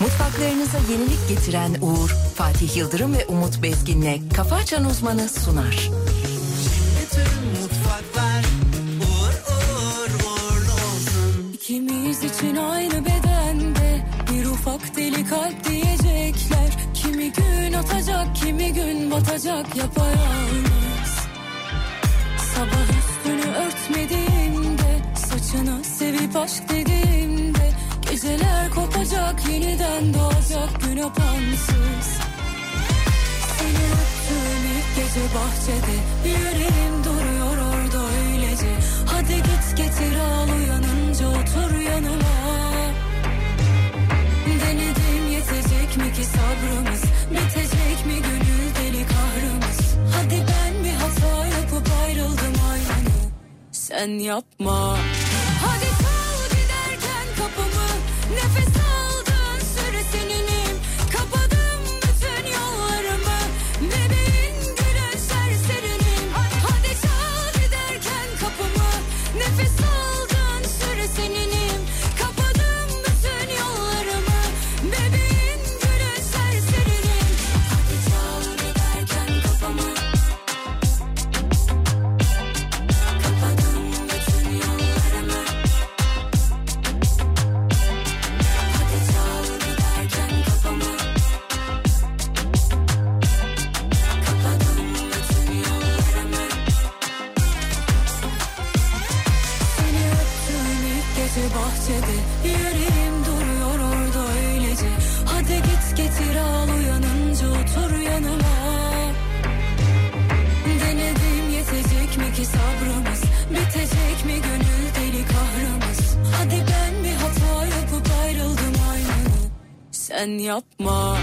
Mutfaklarınıza yenilik getiren Uğur, Fatih Yıldırım ve Umut Bezgin'le Kafa Açan Uzmanı sunar. İkimiz için aynı bedende bir ufak deli kalp diyecekler. Kimi gün atacak, kimi gün batacak yapayalnız. Sabah üstünü örtmediğimde, saçına sevip aşk dediğimde. Geceler kopacak, yeniden doğacak gün apansız. Seni öptüğüm ilk gece bahçede Yüreğim duruyor orada öylece Hadi git getir al uyanınca otur yanıma Denedim yetecek mi ki sabrımız Bitecek mi gönül deli kahrımız Hadi ben bir hata yapıp ayrıldım aynı Sen yapma Hadi kal giderken kapımı Nefes aldığın süre seninim Kapadım bütün yollarımı Bebeğin gülen serserinim Hadi çal giderken kapımı Nefes aldığın süre seninim Kapadım bütün yollarımı Bebeğin gülen serserinim Hadi çal giderken kapımı Kapadım bütün yollarımı Hadi çal giderken kafamı Kapadım bütün yollarımı Seni öptüğüm ilk gece bahçede Yüreğim duruyor orada öylece Hadi git getir al uyanınca otur yanıma Denedim yetecek mi ki sabrımız Bitecek mi gönül deli kahrımız Hadi ben bir hata yapıp ayrıldım aynı Sen yapma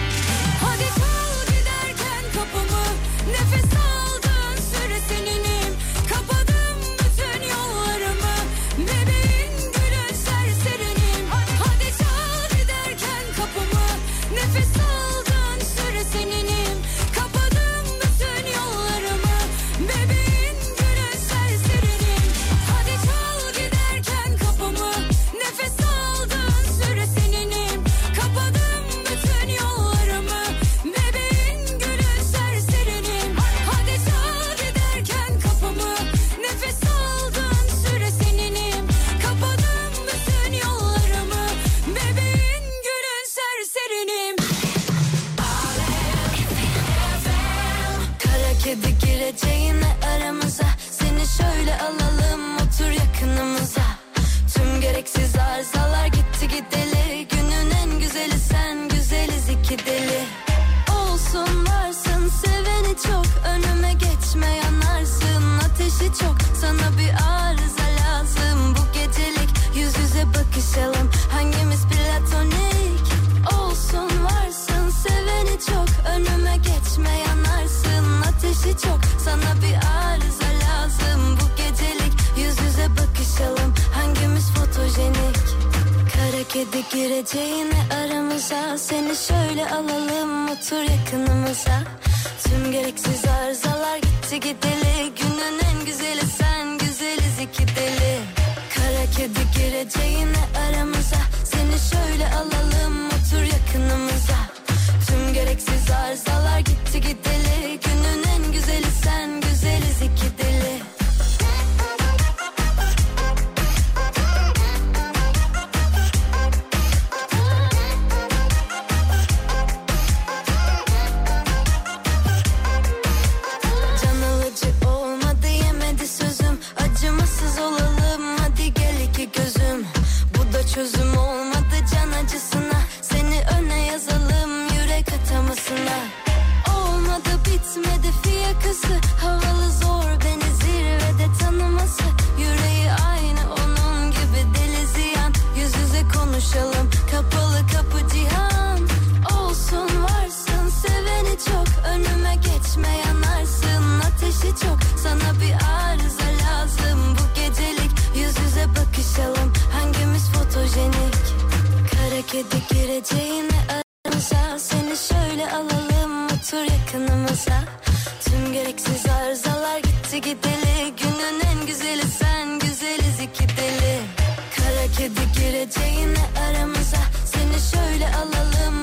Hadi kal giderken kapımı Nefes aldığın süre seninim Kapadım bütün yollarımı Bebeğin gülen serserinim Hadi çal giderken kapımı Nefes aldığın süre seninim Kapadım bütün yollarımı Bebeğin gülen serserinim Hadi çal giderken kapımı Nefes aldığın süre seninim Kapadım bütün yollarımı Bebeğin gülen serserinim Hadi çal giderken kapımı Nefes aldığın süre seninim Kapadım bütün yollarımı Bebeğin gülen serserinim Kara kedi gireceğine aramıza Seni şöyle alalım otur yakınımıza Tüm gereksiz arızalar gitti gideli Günün en güzeli sen güzeliz iki deli Olsun varsın seveni çok Önüme geçme yanarsın ateşi çok Sana bir arıza lazım bu gecelik Yüz yüze bakışalım hangimiz platonik Olsun varsın seveni çok Önüme geçme yanarsın ateşi çok Sana bir arıza lazım bu gecelik Yüz yüze bakışalım hangimiz fotojenik Kara kedi gireceğine aramıza Seni şöyle alalım otur yakınımıza Tüm gereksiz arızalar gitti gideli Günün en güzeli sen güzeliz iki deli Kara kedi gireceğine aramıza Seni şöyle alalım otur yakınımıza Tüm gereksiz arızalar gitti gideli Günün en güzeli sen güzeliz iki deli Can alıcı olmadı yemedi sözüm Acımasız olalım hadi gel iki gözüm Bu da çözüm olmadı can acısına Seni öne yazalım yürek atamasına Olmadı bitmedi fiyakası Havalı zor beni zirvede tanıması Yüreği aynı onun gibi deli ziyan Yüz yüze konuşalım kapalı kapı cihan Olsun varsın seveni çok Önüme geçme yanarsın ateşi çok Sana bir arıza lazım bu gecelik Yüz yüze bakışalım hangimiz fotojenik Kara kedi gireceğine aramıza Seni şöyle alalım otur yakınımıza Tüm gereksiz arızalar gitti gideli Günün en güzeli sen güzeliz iki deli Kara kedi gireceğine aramıza Seni şöyle alalım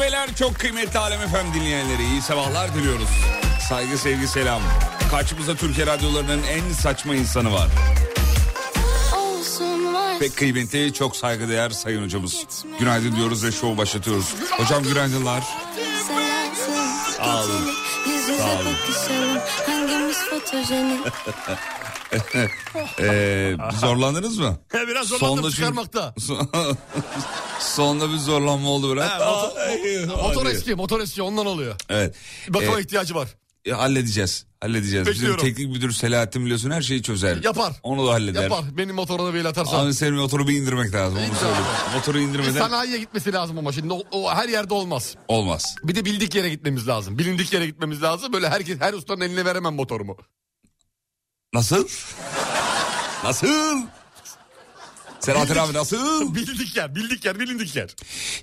günler çok kıymetli Alem Efem dinleyenleri. İyi sabahlar diliyoruz. Saygı, sevgi, selam. Karşımızda Türkiye radyolarının en saçma insanı var. Olsun var. Pek kıymetli, çok saygıdeğer sayın hocamız. Günaydın diyoruz ve şovu başlatıyoruz. Hocam günaydınlar. Sağ olun. Yüz yüze Sağ olun. bakışalım. Hangimiz fotojenik? Ee, zorlandınız mı? He, biraz zorlandım çünkü- çıkarmakta. Son- Sonda bir zorlanma oldu biraz. He, motor, Ay, motor hadi. eski, motor eski ondan oluyor. Evet. Bakıma Ee, ihtiyacı var. Ya halledeceğiz. Halledeceğiz. Bizim Bekliyorum. teknik müdür Selahattin biliyorsun her şeyi çözer. Yapar. Onu da halleder. Yapar. Benim motoruna bir el atarsan. Abi senin motoru bir indirmek lazım. Onu İndir söyleyeyim. Motoru Bir indirmeden sanayiye gitmesi lazım ama şimdi o, o her yerde olmaz. olmaz. Bir de bildik yere gitmemiz lazım. Bilindik yere gitmemiz lazım. Böyle herkes her ustanın eline veremem motorumu. Nasıl? Nasıl? Selahattin abi nasıl? bildik yer, bildik yer, bilindik yer.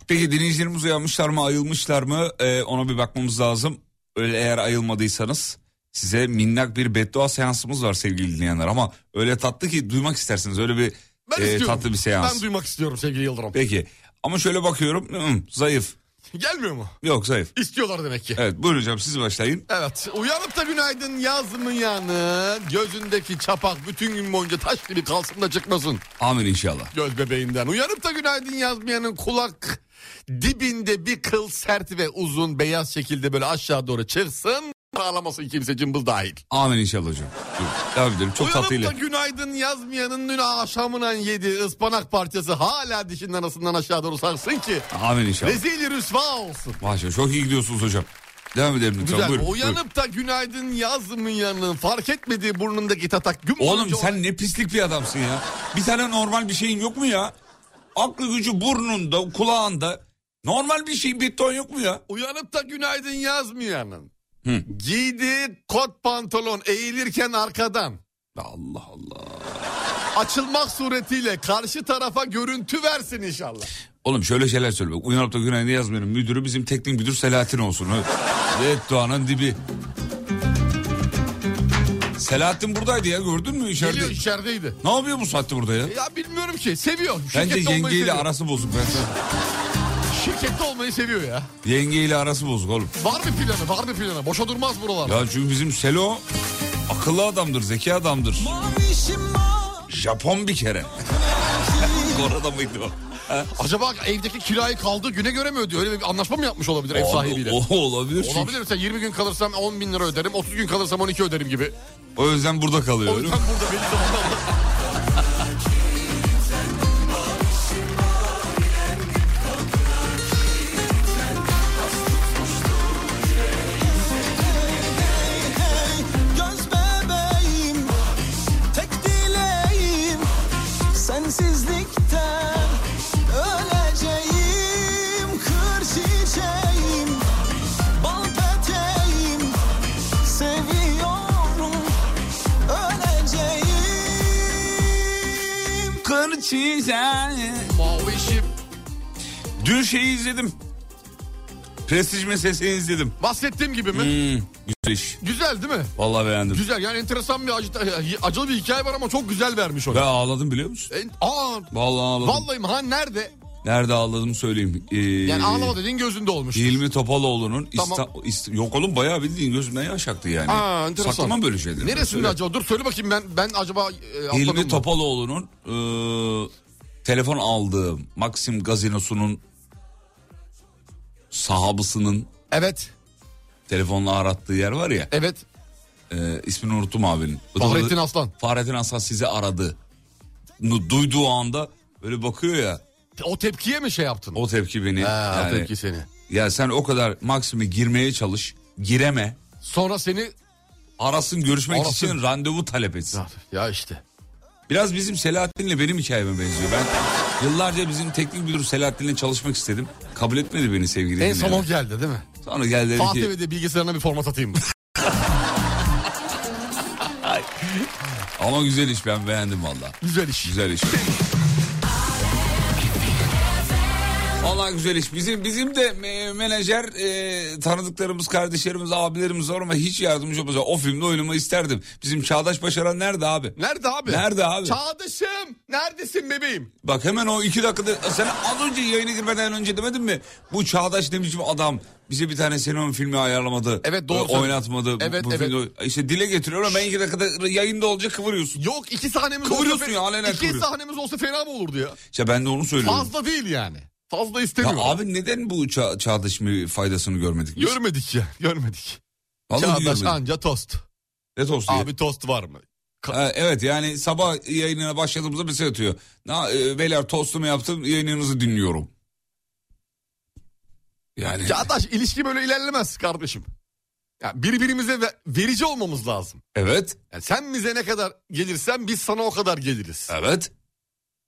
Peki dinleyicilerimiz uyanmışlar mı, ayılmışlar mı? Ee, ona bir bakmamız lazım. Öyle eğer ayılmadıysanız size minnak bir beddua seansımız var sevgili dinleyenler. Ama öyle tatlı ki duymak istersiniz. Öyle bir Ben e, istiyorum. tatlı bir seans. Ben duymak istiyorum sevgili Yıldırım. Peki. Ama şöyle bakıyorum. hı, zayıf. Gelmiyor mu? Yok zayıf. İstiyorlar demek ki. Evet buyurun hocam siz başlayın. Evet uyanıp da günaydın yazmayanın gözündeki çapak bütün gün boyunca taş gibi kalsın da çıkmasın Amin inşallah. göz bebeğinden. Uyanıp da günaydın yazmayanın kulak dibinde bir kıl sert ve uzun beyaz şekilde böyle aşağı doğru çıksın ağlamasın kimse cımbız dahil. Amin inşallah hocam. Buyurun. Devam edelim. Çok Uyanıp tatlıyla. da günaydın yazmayanın dün akşamından yediği ıspanak parçası hala dişinin arasından aşağı doğru sarsın ki Amin inşallah. rezil rüsva olsun. Maşallah çok iyi gidiyorsunuz hocam. Devam edelim lütfen. Güzel. buyurun, Uyanıp buyurun. da günaydın yazmayanın fark etmediği burnundaki tatak gün Oğlum boyunca sen ne pislik bir adamsın ya. Bir tane normal bir şeyin yok mu ya? Aklı gücü burnunda, kulağında. Normal bir şeyin bir ton yok mu ya? uyanıp da günaydın yazmayanın Hı. giydiği kot pantolon eğilirken arkadan Allah Allah. açılmak suretiyle karşı tarafa görüntü versin inşallah. Oğlum şöyle şeyler söyle. Bak, Uyanıp da günaydın yazmıyorum. Müdürü bizim teknik müdür Selahattin olsun. Evet. Evet Doğan'ın dibi. Selahattin buradaydı ya gördün mü içeride? Geliyor içerideydi. Ne yapıyor bu saatte burada ya? Ya bilmiyorum ki seviyor. Bence Şirkette olmayı yengeyle seviyor. arası bozuk. Ben sana- Şirkette olmayı seviyor ya. yengeyle arası bozuk oğlum. Var bir planı var bir planı. Boşa durmaz buralar. Ya çünkü bizim Selo akıllı adamdır, zeki adamdır. Japon bir kere. Orada mıydı o? Acaba evdeki kirayı kaldığı güne göre mi ödüyor? Öyle bir anlaşma mı yapmış olabilir ev O- sahibiyle? O, olabilir. çünkü. Olabilir mesela 20 gün kalırsam 10 bin lira öderim, 30 gün kalırsam 12 öderim gibi. O yüzden burada O kalıyorum. yüzden burada belli zamanlar var. Göz bebeğim Tek dileğim Sensizlikten Öleceğim Kır çiçeğim Bal peteğim Seviyorum Öleceğim Kır çiçeğim Mavişim. Dün şeyi izledim. Prestij meselesini izledim. Bahsettiğim gibi mi? Hmm, güzel iş. Güzel değil mi? Vallahi beğendim. Güzel yani enteresan bir acı- acılı bir hikaye var ama çok güzel vermiş Ve onu. ağladım biliyor musun? En- Aa, Vallahi ağladım. vallahi mi? ha nerede? Nerede ağladım söyleyeyim. Ee, Yani ağlama dediğin gözünde olmuş. Hilmi Topaloğlu'nun Tamam. İsta- İst- yok oğlum bayağı bildiğin gözümden yaş aktı yani. Aa, enteresan. Saklamam böyle şeyleri. Neresinde Söyle. acaba? Dur söyle bakayım ben ben acaba e, atladım Hilmi mı? Topaloğlu'nun e, telefon aldığı Maxim gazinosunun sahabısının Evet. telefonla arattığı yer var ya. Evet. e, ismini unuttum abinin. Fahrettin Aslan. Fahrettin Aslan sizi aradı. Nu- Duyduğu anda böyle bakıyor ya. O tepkiye mi şey yaptın? O tepki beni. Ha, yani, o tepki seni. Ya sen o kadar Maxim'e girmeye çalış. Gireme. Sonra seni Arasın görüşmek Arasın. için randevu talep etsin. ya işte. Biraz bizim Selahattin'le benim hikayeme benziyor. Ben yıllarca bizim teknik müdür Selahattin'le çalışmak istedim. Kabul etmedi beni sevgili En son dinleyenler. o geldi değil mi? Sonra geldi dedi Fatih ki Bey'de bilgisayarına bir format atayım. ama güzel iş ben beğendim valla. Güzel iş. Güzel iş. Vallahi güzel iş. Bizim bizim de me- menajer e, tanıdıklarımız, kardeşlerimiz, abilerimiz var ama hiç yardımcı olmaz. O filmde oynamayı isterdim. Bizim Çağdaş Başaran nerede abi? Nerede abi? Nerede abi? Çağdaşım neredesin bebeğim? Bak hemen o iki dakikada sen az önce yayına girmeden önce demedin mi? Bu Çağdaş ne biçim adam bize bir tane senon filmi ayarlamadı. Evet, doğru e, söylüyorsun. Oynatmadı. Bu- Evet, bu evet. filmde- işte dile getiriyor ama ben iki dakikada yayında olacak kıvırıyorsun. Yok iki sahnemiz Kıvırıyorsun olsa... fe- ya, alenen İki kıvırıyorsun. sahnemiz olsa fena mı olurdu ya? İşte ben de onu söylüyorum. Fazla değil yani. Fazla Ya istemiyorum. abi neden bu ça- Çağdaş mı faydasını görmedik biz? Görmedik ya görmedik. Vallahi Çağdaş görmedim. anca tost. Ne tostu ya? Abi tost var mı? Ha, evet yani sabah yayınına başladığımızda mesaj atıyor. Na, e, beyler tostumu yaptım yayınınızı dinliyorum. Yani Çağdaş ilişki böyle ilerlemez kardeşim. Ya birbirimize ve- verici olmamız lazım. evet Yani sen bize ne kadar gelirsen biz sana o kadar geliriz. evet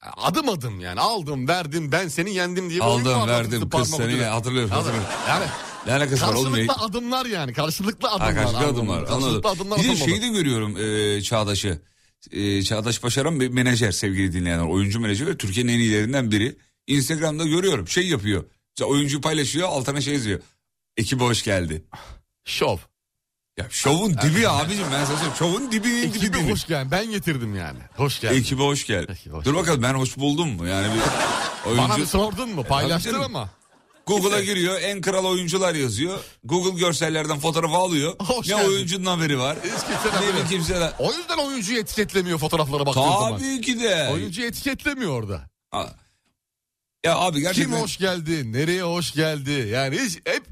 Yani Adım adım yani aldım verdim ben seni yendim diye. bir oyun aldım var. verdim Parmak kız seni ucuyla. hatırlıyorum. hatırlıyorum. Yani Ne alakası var oğlum? karşılıklı adımlar yani karşılıklı adımlar. Arkadaşlıklı anladın adımlar. mı? Karşılıklı Anladım. adımlar Bir de atılmalı. şeyi de görüyorum e, Çağdaş'ı. E, Çağdaş Başaran bir menajer sevgili dinleyenler. Oyuncu menajer ve Türkiye'nin en iyilerinden biri. Instagram'da görüyorum şey yapıyor. Mesela oyuncu paylaşıyor altına şey yazıyor. Ekibe hoş geldi. Şov. Ya şovun dibi abicim ben sana söyleyeyim. Şovun dibinin dibi. Ekibi dibi. hoş geldin. Ben getirdim yani. Hoş geldin. Ekibe hoş geldin. Peki, hoş Dur geldin. bakalım ben hoş buldum mu? Yani bir Bana oyuncu E, bir sordun mu? Paylaştın canım. ama. Google'a giriyor en kral oyuncular yazıyor. Google görsellerden fotoğrafı alıyor. Hoş ne geldin. oyuncunun haberi var. Hiç kimseden ne haberi bir yok. kimseden. O yüzden oyuncuyu etiketlemiyor fotoğraflara baktığı zaman. Tabii ki de. Oyuncuyu etiketlemiyor orada. Aa. Ya abi gerçekten Kim hoş geldi? Nereye hoş geldi? Yani hiç hep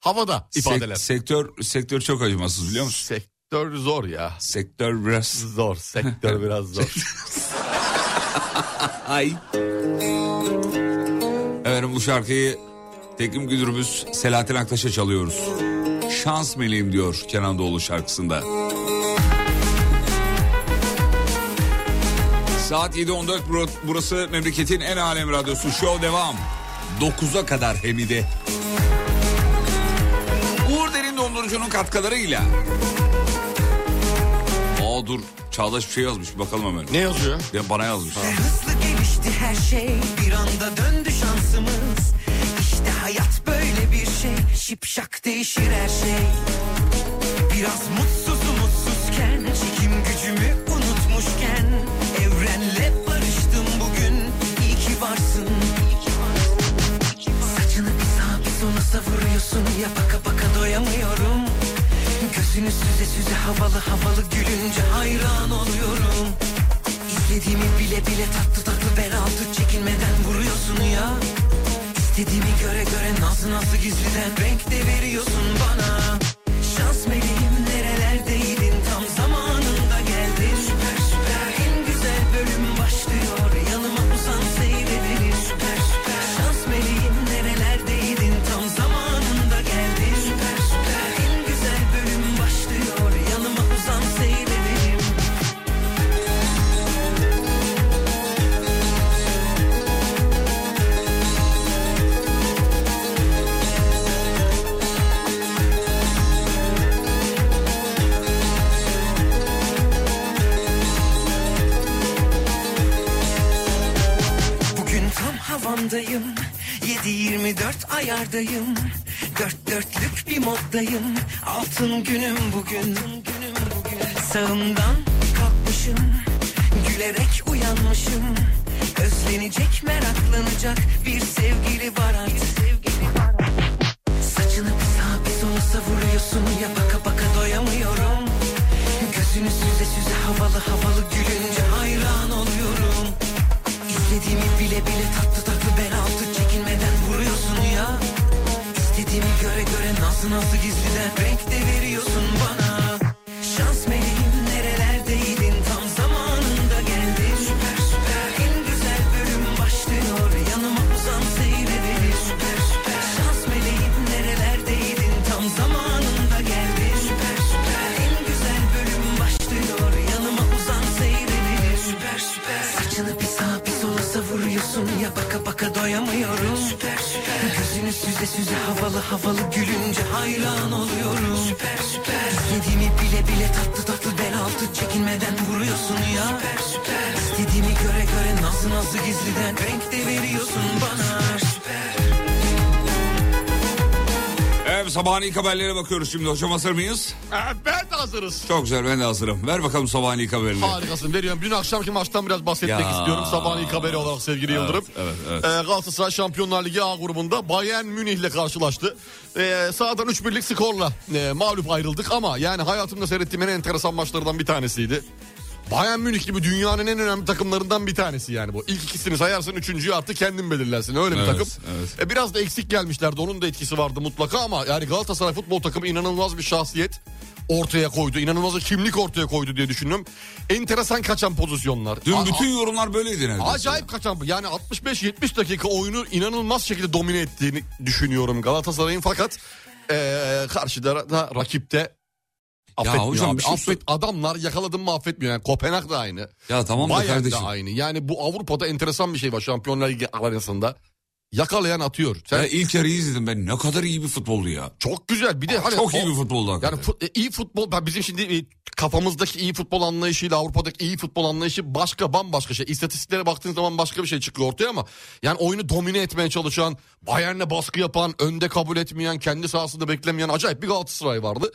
havada sek- ifadeler. sektör sektör çok acımasız biliyor musun? Sektör zor ya. Sektör biraz. Zor. Sektör biraz zor. Ay. Efendim bu şarkıyı teknik müdürümüz Selahattin Aktaş'a çalıyoruz. Şans meleğim diyor Kenan Doğulu şarkısında. Saat 7.14 bur- burası memleketin en alem radyosu. Show devam. 9'a kadar Hemide. Uğur Derin Dondurucu'nun katkılarıyla. Aa dur Çağdaş bir şey yazmış bakalım hemen. ne yazıyor? Ya bana yazmış. Hızlı gelişti her şey bir anda döndü şansımız İşte hayat böyle bir şey şipşak değişir her şey Biraz mutsuz umutsuzken çekim gücümü unutmuşken Evrenle barıştım bugün iyi ki varsın Saçını bir sağa bir sola savuruyorsun ya baka baka doyamıyorum Gözünü süze süze havalı havalı gülünce hayran oluyorum İstediğimi bile bile tatlı tatlı beraatı çekinmeden vuruyorsun ya İstediğimi göre göre nazlı nazlı gizliden renk de veriyorsun bana Şans meleğim nerelerdeydin tam zamanında geldin Süper süper en güzel bölüm başlıyor yanıma uzan seyredelim Süper süper şans meleğim nerelerdeydin tam zamanında geldin Süper süper en güzel bölüm başlıyor yanıma uzan seyredelim Bugün tam havamdayım 7-24 ayardayım Dört dörtlük bir moddayım Altın günüm bugün günüm bugün Sağımdan kalkmışım Gülerek uyanmışım Özlenecek meraklanacak Bir sevgili var artık sevgili var Saçını bir sağa bir sola savuruyorsun ya baka baka doyamıyorum Gözünü süze süze havalı havalı gülünce hayran oluyorum İstediğimi bile bile tatlı tatlı belaltı çekinmeden vuruyorsun ya İstediğimi göre göre nasıl nasıl gizliden renk de veriyorsun bana Şans meleğim nerelerdeydin tam zamanında geldin Süper süper en güzel bölüm başlıyor yanıma uzan seyredelim Süper süper şans meleğim nerelerdeydin tam zamanında geldin Süper süper en güzel bölüm başlıyor yanıma uzan seyredelim Süper süper saçını bir sağa bir sola savuruyorsun ya baka baka doyamıyorum Süper süper gözünü süze süze havalı havalı gülünce hayran oluyorum Süper süper İstediğimi bile bile tatlı tatlı bel altı çekinmeden vuruyorsun ya Süper süper İstediğimi göre göre nazlı nazlı gizliden renk de veriyorsun bana Süper süper sabahın ilk haberlere bakıyoruz şimdi. Hocam hazır mıyız? Ha, ben de hazırız. Çok güzel ben de hazırım. Ver bakalım sabahın ilk haberini. Harikasın veriyorum. Dün akşamki maçtan biraz bahsetmek Ya. istiyorum. Sabahın ilk haberi olarak sevgili Yıldırım. evet, evet. Ee, Galatasaray Şampiyonlar Ligi A grubunda Bayern Münih'le karşılaştı. Ee, sahadan 3-1'lik skorla e, mağlup ayrıldık ama yani hayatımda seyrettiğim en enteresan maçlardan bir tanesiydi. Bayern Münih gibi dünyanın en önemli takımlarından bir tanesi yani bu. İlk ikisini sayarsın üçüncüyü artık kendin belirlersin öyle bir Evet, takım. evet. E, biraz da eksik gelmişlerdi onun da etkisi vardı mutlaka ama yani Galatasaray futbol takımı inanılmaz bir şahsiyet ortaya koydu. İnanılmaz bir kimlik ortaya koydu diye düşünüyorum. Enteresan kaçan pozisyonlar. Dün A- bütün yorumlar böyleydi neredeyse. Acayip kaçan yani 65-70 dakika oyunu inanılmaz şekilde domine ettiğini düşünüyorum Galatasaray'ın fakat eee karşıda da rakipte affetmiyor hocam abi. bir şey Affet, adamlar yakaladım mı affetmiyor yani Kopenhag da aynı. Ya tamam da Bayern kardeşim. de aynı. Yani bu Avrupa'da enteresan bir şey var Şampiyonlar Ligi arasında. Yakalayan atıyor. Sen Ya ilk yarıyı izledim ben. Ne kadar iyi bir futboldu ya. Ah, çok güzel. Bir de hani Çok iyi o- bir futboldu hakikaten. yani fut- e, iyi futbol ben bizim şimdi e, kafamızdaki iyi futbol anlayışıyla Avrupa'daki iyi futbol anlayışı başka bambaşka şey. İstatistiklere baktığın zaman başka bir şey çıkıyor ortaya ama yani oyunu domine etmeye çalışan, Bayern'e baskı yapan, önde kabul etmeyen, kendi sahasında beklemeyen acayip bir Galatasaray vardı.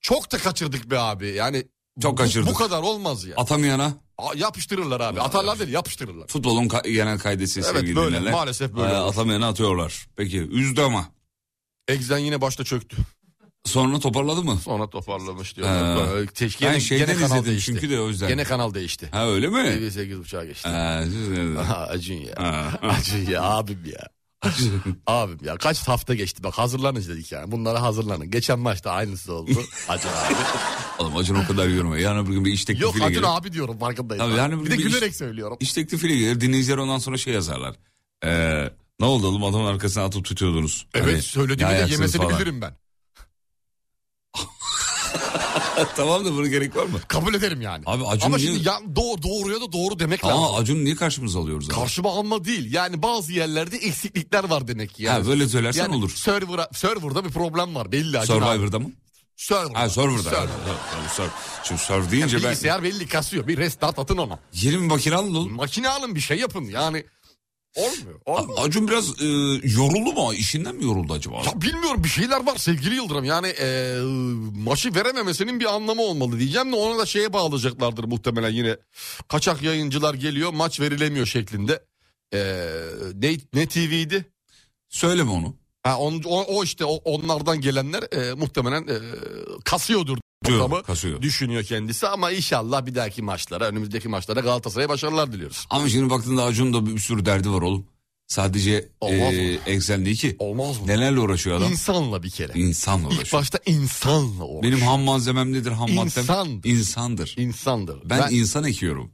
Çok da kaçırdık be abi. Yani Çok bu- kaçırdık. Bu kadar olmaz ya. Atamayana A- yapıştırırlar abi. Atarlar değil, yapıştırırlar. futbolun ka- genel kaidesi Evet, sevgili böyle, dinleyenler. maalesef böyle. Ee, atamayana atıyorlar. Peki üzdü ama. Egzen yine başta çöktü. Sonra toparladı mı? Sonra toparlamış Ee, diyor. Teşkil ben gene- şeyden gene kanal izledim değişti. çünkü de o yüzden. Gene kanal değişti. Ha öyle mi? Evet. 8.30'a geçti. Ee, siz ne- Aha, Acun ya. Ha. Acun ya abim ya. abim ya kaç hafta geçti bak hazırlanın dedik yani bunlara hazırlanın. Geçen maçta aynısı oldu. Acun abi. Oğlum Acun o kadar yorma. Yarın öbür gün bir iş teklifiyle Yok Acun gelir. abi diyorum farkındayım. Tabii yani bir de bir iş- gülerek söylüyorum. İş teklifiyle gelir. Dinleyiciler ondan sonra şey yazarlar. Ee, ne oldu oğlum adamın arkasına atıp tutuyordunuz. Evet Hani, söylediğimi ne de ayaksınız yemesini falan. bilirim ben. tamam da bunun gerek var mı? Kabul ederim yani. Abi Acun Ama niye- şimdi ya, doğ- doğruya da doğru demek lazım. Aa Acun'u niye karşımıza alıyoruz? abi? Karşıma alma değil. Yani bazı yerlerde eksiklikler var demek ki. Yani. Ha, böyle söylersen yani olur. Server'a, server'da bir problem var belli Acun abi. Survivor'da mı? Server'da. Ha Survivor'da. Server. Evet, evet, Sur- Şimdi Survivor deyince ben Bilgisayar belli kasıyor. Bir restart atın ona. 20 makine alın oğlum. Makine alın bir şey yapın yani. Olmuyor. Abi, olmuyor. Acun biraz e, yoruldu mu? İşinden mi yoruldu acaba? Ya bilmiyorum bir şeyler var sevgili Yıldırım. Yani e, maçı verememesinin bir anlamı olmalı diyeceğim de ona da şeye bağlayacaklardır muhtemelen yine. Kaçak yayıncılar geliyor maç verilemiyor şeklinde. E, ne, ne TV'ydi? Söyleme onu. Ha, on- o, o işte o- onlardan gelenler e, muhtemelen e, kasıyordur. Diyor, ortamı. kasıyor. Düşünüyor kendisi ama inşallah bir dahaki maçlara önümüzdeki maçlara Galatasaray'a başarılar diliyoruz. Ama şimdi baktığında Acun'un da bir sürü derdi var oğlum. Sadece Olmaz e, eksen değil ki. Olmaz mı? Nelerle uğraşıyor adam? İnsanla bir kere. İnsanla İlk uğraşıyor. başta insanla uğraş. Benim ham malzemem nedir? Ham maddem İnsan. insandır. insandır. Ben, Ben, insan ekiyorum.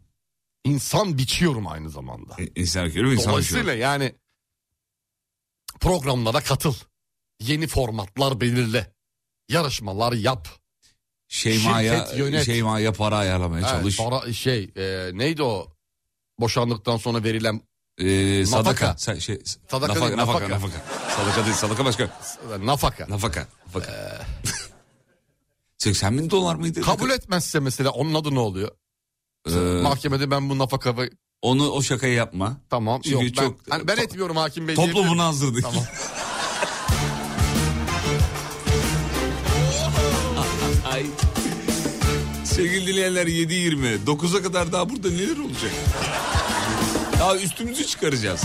insan biçiyorum aynı zamanda. İ- İnsan ekiyorum, insan Dolayısıyla ekiyorum. yani programlara katıl. Yeni formatlar belirle. Yarışmalar yap. Şeyma'ya, şirket yönet. Şeyma'ya para ayarlamaya Evet, çalış. para- şey e, neydi o? Boşandıktan sonra verilen Ee, sadaka. Nafaka. Sa- şey, Sadaka nafaka, değil, nafaka, nafaka. nafaka. Sadaka değil, sadaka başka. e, nafaka. Nafaka. nafaka. 80 bin dolar mıydı? Kabul etmezse mesela onun adı ne oluyor? Ee, Mahkemede ben bu nafaka ve- onu o şakayı yapma. tamam Çünkü yok ben, çok- hani ben etmiyorum hakim bey. Toplu diyebilir bunu hazırdık. Tamam. Ay. Sevgili dinleyenler 7.20. 9'a kadar daha burada neler olacak? Daha üstümüzü çıkaracağız.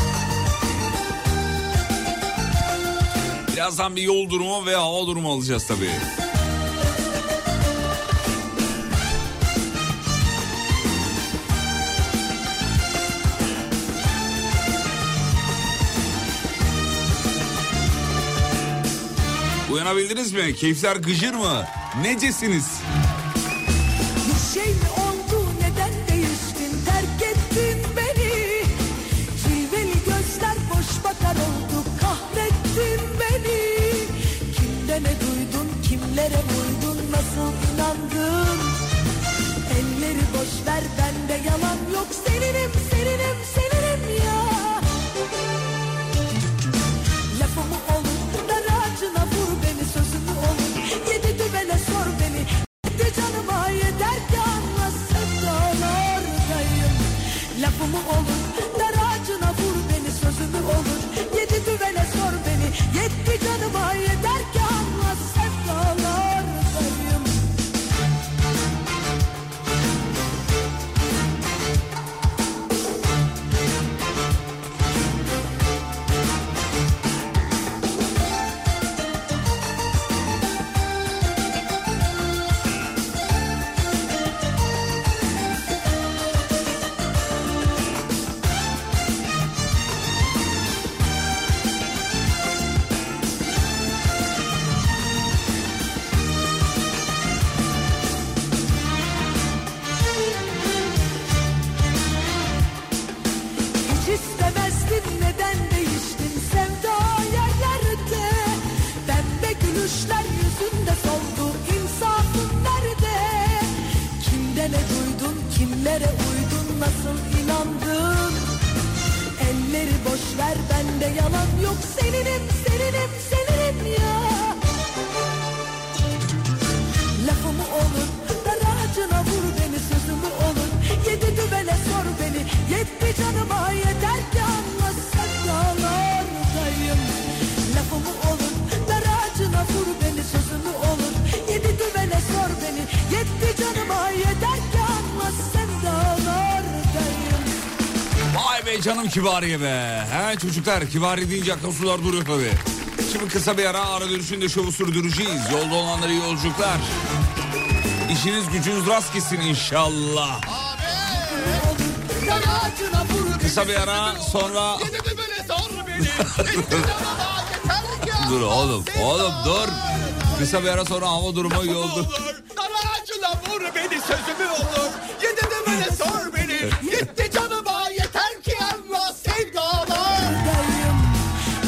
Birazdan bir yol durumu ve hava durumu alacağız tabii. Uyanabildiniz mi? Keyifler gıcır mı? Necesiniz? Bir şey mi oldu neden değiştin terk ettin beni Cilveli gözler boş bakar oldu kahrettin beni Kimde ne duydun kimlere vurdun nasıl inandın Elleri boş ver bende yalan yok seninim seninim seninim ya Lafımı olur dar ağacına vur beni sözümü olur Yedi düvele sor beni Yetti canıma yeter ki anlasın dağlardayım Lafımı olur dar ağacına vur beni sözümü olur Yedi düvele sor beni Yetti canıma yeter ki anlasın Seninim, seninim, seninim, seninim ya Lafımı olur, dar ağacına vur beni Sözümü olur, yedi düvele sor beni Yetti canıma yeter ki anlasak dağlardayım Lafımı olur, dar ağacına vur beni Sözümü olur, yedi düvele sor beni Yetti canıma yeter ki anlasak dağlardayım Vay be canım kibariye be. He çocuklar kibariye deyince akla sular duruyor tabii. Şimdi kısa bir ara ara dönüşünde şovu sürdüreceğiz. Yolda olanlara iyi yolculuklar. İşiniz gücünüz rast gitsin inşallah. Kısa bir ara sonra... dur oğlum, oğlum dur. Kısa bir ara sonra hava durumu yolda. Dayım,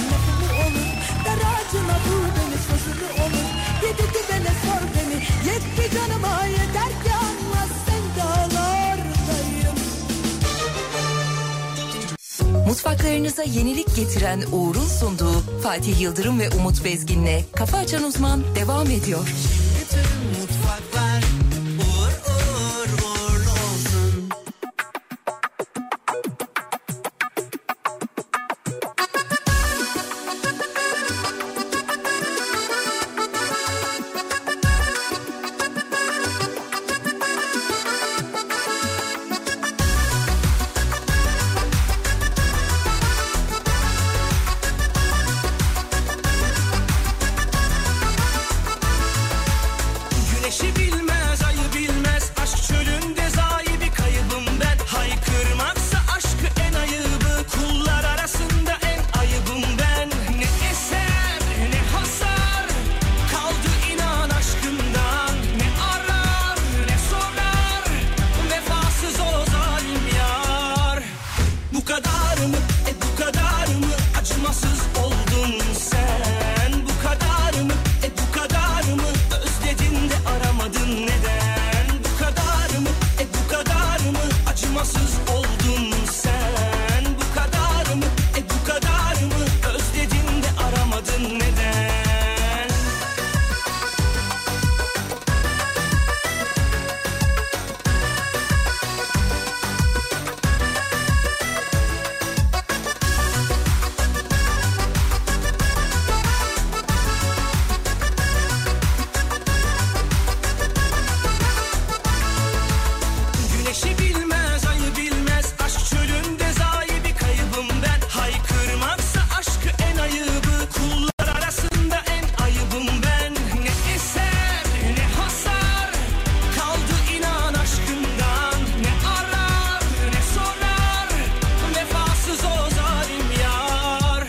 lafımı olur, dar ağacına vur beni, sözümü olur. Yedi düvele sor beni, yetti canıma yeter ki anla sen dağlardayım. Mutfaklarınıza yenilik getiren Uğur'un sunduğu Fatih Yıldırım ve Umut Bezgin'le Kafa Açan Uzman devam ediyor. Güneşi bilmez, ayı bilmez Aşk çölünde zayi bir kaybım ben Haykırmaksa aşkı en ayıbı Kullar arasında en ayıbım ben Ne eser, ne hasar Kaldı inan aşkımdan Ne arar, ne sorar Vefasız o zalim yar Bu kadar mı, e bu kadar mı Acımasız oldun sen Bu kadar mı, e bu kadar mı Özledin de aramadın neden Bu kadar mı, e bu kadar mı Acımasız oldun sen Bu kadar mı, e bu kadar mı Özledin de aramadın neden Güneşi bilmez, ayı bilmez Aşk çölünde zayi bir kaybım ben Haykırmaksa aşkı en ayıbı Kullar arasında en ayıbım ben Ne eser, ne hasar Kaldı inan aşkından Ne arar, ne sorar Vefasız o zalim yar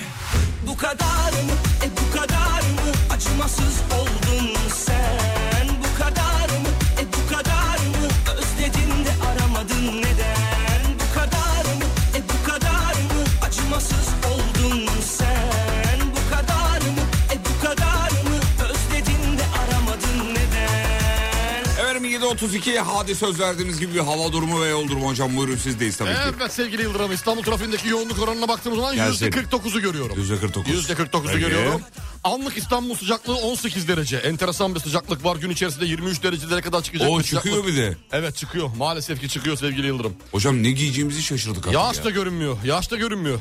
Bu kadar mı, e bu kadar mı Acımasız oldun sen Bu kadar mı, e bu kadar mı Özledin de aramadın neden Bu kadar mı, e bu kadar mı Acımasız oldun sen Bu kadar mı, e bu kadar mı Özledin de aramadın neden Efendim 7.32 hadi söz verdiğimiz gibi bir hava durumu ve yol durumu hocam buyurun sizdeyiz tabii ki. Evet sevgili Yıldırım İstanbul trafiğindeki yoğunluk oranına baktığımız zaman Gelsin. %49'u görüyorum. %49. %49'u Peki. görüyorum. Anlık İstanbul sıcaklığı 18 derece. Enteresan bir sıcaklık var. Gün içerisinde 23 derecelere kadar çıkacak O bir çıkıyor sıcaklık. bir de. Evet çıkıyor. Maalesef ki çıkıyor sevgili Yıldırım. Hocam ne giyeceğimizi şaşırdık artık Yağış ya. da görünmüyor. Yağış da görünmüyor.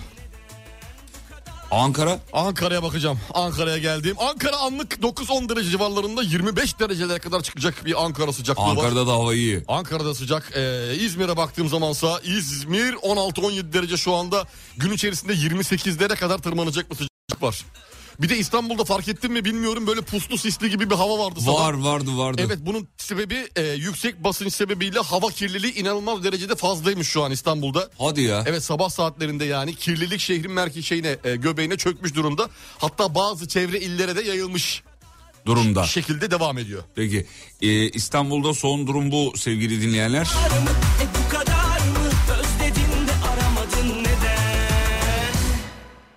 Ankara Ankara'ya bakacağım. Ankara'ya geldiğim. Ankara anlık 9-10 derece civarlarında 25 derecelere kadar çıkacak bir Ankara sıcaklığı var. Ankara'da da hava iyi. Ankara'da sıcak. Ee, İzmir'e baktığım zamansa İzmir 16-17 derece şu anda. Gün içerisinde 28'lere kadar tırmanacak bir sıcaklık var. Bir de İstanbul'da fark ettin mi bilmiyorum böyle puslu sisli gibi bir hava vardı. sabah. Var vardı vardı. Evet bunun sebebi e, yüksek basınç sebebiyle hava kirliliği inanılmaz derecede fazlaymış şu an İstanbul'da. Hadi ya. Evet sabah saatlerinde yani kirlilik şehrin merkezi şeyine e, göbeğine çökmüş durumda. Hatta bazı çevre illere de yayılmış Durumda. şekilde devam ediyor. Peki e, İstanbul'da son durum bu sevgili dinleyenler. Var mı, e bu kadar mı Özledin de aramadın neden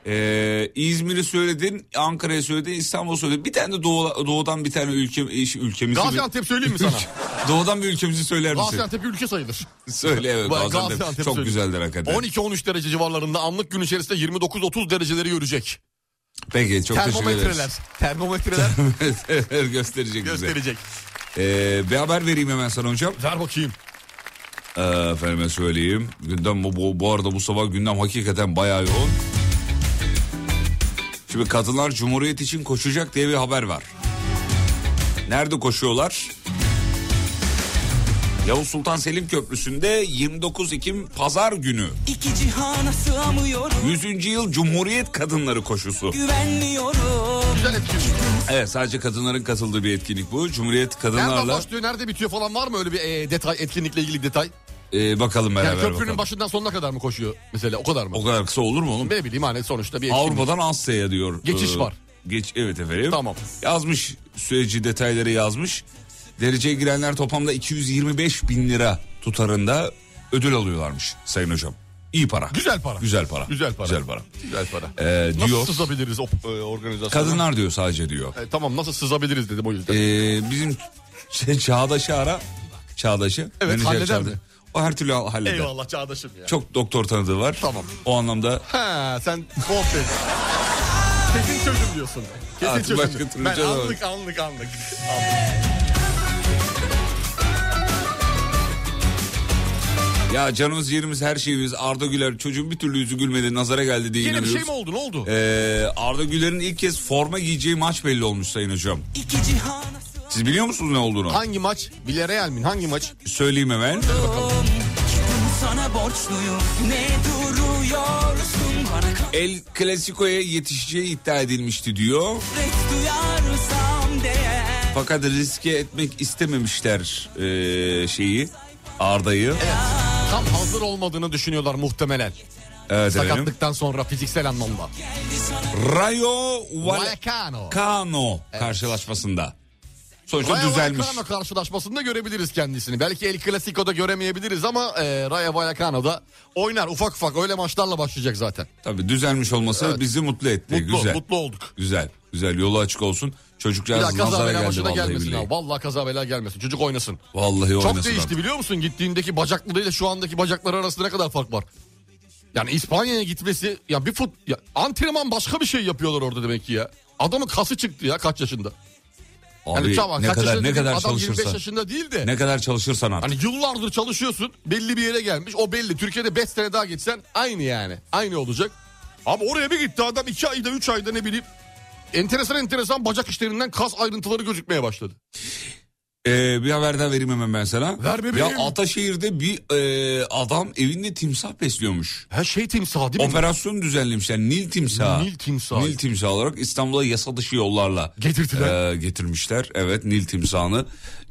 E, İzmir'i söyledin, Ankara'yı söyledin, İstanbul'u söyledin. Bir tane de doğu, doğudan bir tane ülke, iş- ülkemizi... Gaziantep söyleyeyim mi sana? Doğudan bir ülkemizi söyler misin? Gaziantep ülke sayılır. Söyle evet Bak, Gaziantep. Gaziantep Çok söyleyeyim. güzeldir hakikaten. 12-13 derece civarlarında anlık gün içerisinde 29-30 dereceleri görecek. Peki çok teşekkür termometreler. ederiz. Termometreler Termometreler. gösterecek bize. gösterecek. Ee, bir haber vereyim hemen sana hocam. Ver bakayım. Ee, efendime söyleyeyim. Gündem bu, bu, bu arada bu sabah gündem hakikaten bayağı yoğun. Şimdi kadınlar Cumhuriyet için koşacak diye bir haber var. Nerede koşuyorlar? Yavuz Sultan Selim Köprüsü'nde 29 Ekim Pazar günü İki cihana sığamıyorum 100. yıl Cumhuriyet Kadınları Koşusu. Güvenmiyorum Güzel etkinlik. Evet sadece kadınların katıldığı bir etkinlik bu. Cumhuriyet Nereden kadınlarla başlıyor, nerede bitiyor falan var mı öyle bir e, detay, etkinlikle ilgili detay? e, bakalım Yani beraber köprünün bakalım. başından sonuna kadar mı koşuyor mesela o kadar mı? O kadar kısa olur mu oğlum? Ne bileyim hani sonuçta bir etkinlik. Avrupa'dan Asya'ya diyor. Geçiş Ee, var. Geç evet efendim. Tamam. Yazmış süreci detayları yazmış. Dereceye girenler toplamda 225 bin lira tutarında ödül alıyorlarmış sayın hocam. İyi para. Güzel para. Güzel para. Güzel para. Güzel para. Güzel para. Ee, nasıl diyor. sızabiliriz o e, organizasyona? Kadınlar diyor sadece diyor. E, tamam nasıl sızabiliriz dedim o yüzden. Ee, bizim şey, Çağdaş'ı ara. Çağdaş'ı. Evet, Menajer halleder mi? O her türlü halleder. Eyvallah Çağdaş'ım ya. Çok doktor tanıdığı var. Tamam. O anlamda Ha sen bol dedin. Kesin çözüm diyorsun. Kesin Artık çözüm. başka diyorsun. türlü ben çözemem. anlık anlık anlık. ya canımız yerimiz her şeyimiz Arda Güler çocuğun bir türlü yüzü gülmedi nazara geldi diye Yine bir inanıyoruz. şey mi oldu ne oldu? Ee, Arda Güler'in ilk kez forma giyeceği maç belli olmuş sayın hocam. İki cihana sığamıyorum Siz biliyor musunuz ne olduğunu? hangi maç? Villarreal mi? Hangi maç? Söyleyeyim hemen. Kitabım sana borçluyum Ne duruyorsun bana El Clasico'ya yetişeceği iddia edilmişti diyor. kahret duyarsam değer Fakat riske etmek istememişler ee, şeyi Arda'yı. Tam hazır olmadığını düşünüyorlar muhtemelen. Evet, efendim. Sakatlıktan sonra fiziksel anlamda. Rayo Vallecano Vallecano. karşılaşmasında. Sonuçta Rayo düzelmiş. Vallecano karşılaşmasında görebiliriz kendisini. Belki El Clasico'da göremeyebiliriz ama e, Rayo Vallecano'da oynar ufak ufak öyle maçlarla başlayacak zaten. Tabii düzelmiş olması Evet. bizi mutlu etti. Mutlu, güzel. mutlu olduk. Güzel. Güzel. Yolu açık olsun. Bir Çocukcağız daha kaza nazara bela geldi başına vallahi gelmesin. billahi. Abi. Vallahi kaza bela gelmesin. Çocuk oynasın. Vallahi oynasın Çok değişti artık. biliyor musun? Gittiğindeki bacaklarıyla şu andaki bacakları arasında ne kadar fark var? Yani İspanya'ya gitmesi ya bir fut ya antrenman başka bir şey yapıyorlar orada demek ki ya. Adamın kası çıktı ya kaç yaşında. Yani Abi, tamam, ne kaç kadar yaşında ne dediğim kadar adam 25 çalışırsan. yaşında değil de. Ne kadar çalışırsan artık. Hani yıllardır çalışıyorsun belli bir yere gelmiş o belli. Türkiye'de 5 sene daha geçsen aynı yani aynı olacak. Abi oraya bir gitti adam 2 ayda 3 ayda ne bileyim. Enteresan enteresan bacak işlerinden kas ayrıntıları gözükmeye başladı. Ee, bir haber daha vereyim hemen ben sana. Ver bebeğim. Ya Ataşehir'de bir e, adam evinde timsah besliyormuş. Her şey timsah değil mi? Operasyon düzenlemişler. Nil timsahı. Nil timsahı. Nil timsahı olarak İstanbul'a yasa dışı yollarla Getirdiler. e, getirmişler. Evet Nil timsahını.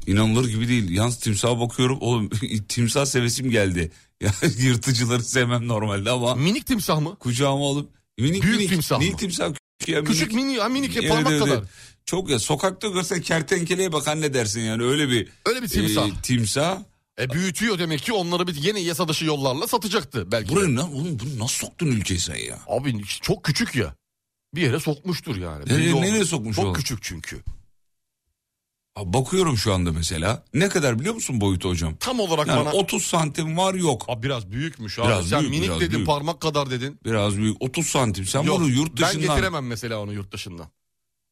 İnanılır gibi değil. Yalnız timsaha bakıyorum. Oğlum timsah sevesim geldi. Ya yırtıcıları sevmem normalde ama Minik timsah mı? kucağıma alıp minik Büyük minik timsah Nil mı? timsah küçük ya, Küçük mini, ha, minik ya, parmak Evet, evet, kadar. evet. Çok ya sokakta görsen kertenkeleye bak anne dersin yani öyle bir Öyle bir timsah. e, timsah. E büyütüyor demek ki onları bir yeni yasa dışı yollarla satacaktı belki. de. Buraya lan oğlum bunu nasıl soktun ülkeye sen ya? Abi çok küçük ya. Bir yere sokmuştur yani. Nereye- Belli olmaz. nereye sokmuş Çok oğlum? küçük çünkü. Abi bakıyorum şu anda mesela. Ne kadar biliyor musun boyutu hocam? Tam olarak Yani bana... 30 santim var yok. Abi biraz büyükmüş abi. Biraz Sen büyük, minik biraz dedin büyük. parmak kadar dedin. Biraz büyük 30 santim. Sen Yok, bunu yurt Ben dışından getiremem mesela onu yurt dışından.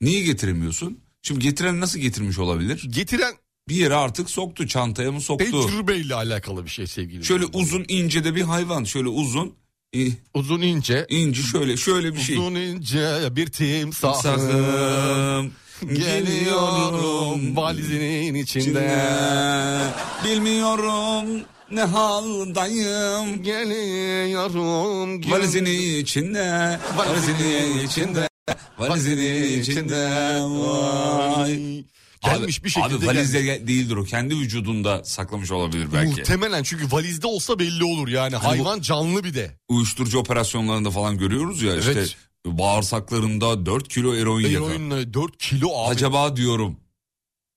niye getiremiyorsun? Şimdi getiren nasıl getirmiş olabilir? Getiren Bir yere artık soktu çantaya mı soktu? tecrübeyle alakalı bir şey sevgili. Şöyle dinleyiciler. uzun ince de bir hayvan. Şöyle uzun i- uzun ince. ince şöyle şöyle bir şey. Uzun ince bir timsahım. Sakım Geliyorum valizinin içinde. içinde. Bilmiyorum ne haldayım. Geliyorum. gel- Valizini içinde, valizini içinde, valizini içinde. Vay. Gelmiş Abi- bir şekilde Abi gelmiş. valizde ge- değildir o. Kendi vücudunda saklamış olabilir belki. Muhtemelen çünkü valizde olsa belli olur yani. Hayvan canlı bir de. Uyuşturucu operasyonlarında falan görüyoruz ya işte Evet. bağırsaklarında 4 kilo eroin yakar. Eroinle 4 e, kilo abi. Acaba diyorum.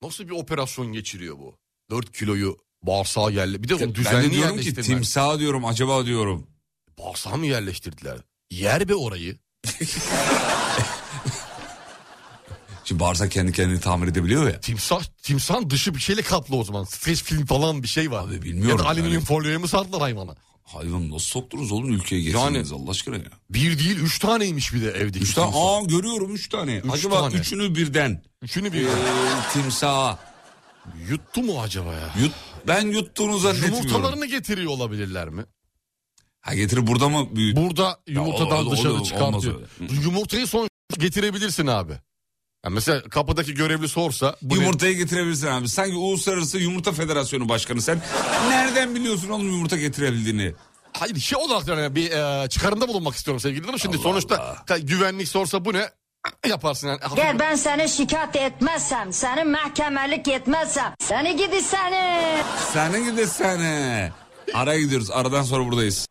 Nasıl bir operasyon geçiriyor bu? 4 kiloyu bağırsağa yerle. Bir de onu Ben de düzenli diyorum ki yerleştirdiler. timsaha diyorum acaba diyorum. Bağırsağa mı yerleştirdiler? Yer be orayı. Şimdi bağırsak kendi kendini tamir edebiliyor ya. Timsah, timsahın dışı bir şeyle kaplı o zaman. Streç film falan bir şey var. Abi bilmiyorum Ya da alüminyum yani. folyoya mı sardılar hayvana? Hayvan nasıl soktunuz oğlum ülkeye getirdiniz Allah aşkına ya. Bir değil üç taneymiş bir de evdeki. Üç tane, timsah. aa görüyorum üç tane. Üç Acaba tane. üçünü birden Üçünü bir ee, timsaha yuttu mu acaba ya? yut. Ben yuttuğunu zannetmiyorum. Yumurtalarını getiriyor olabilirler mi? Ha getir burada mı büyüt? Burada yumurtadan o- o- dışarı olmaz çıkartıyor. öyle. Yumurtayı son getirebilirsin abi. Ya mesela kapıdaki görevli sorsa bu ne- Yumurtayı getirebilirsin abi. Sanki Uluslararası Yumurta Federasyonu Başkanı sen. Nereden biliyorsun oğlum yumurta getirebildiğini? Hayır şey olarak yani bir e, çıkarımda bulunmak istiyorum sevgili dinleyiciler. Şimdi Allah sonuçta Allah. ka- güvenlik sorsa bu ne yaparsın yani. Gel ben seni şikayet etmezsem, seni mahkemelik etmezsem, seni gidi seni. Sen gidesene. Araya gidiyoruz. Aradan sonra buradayız.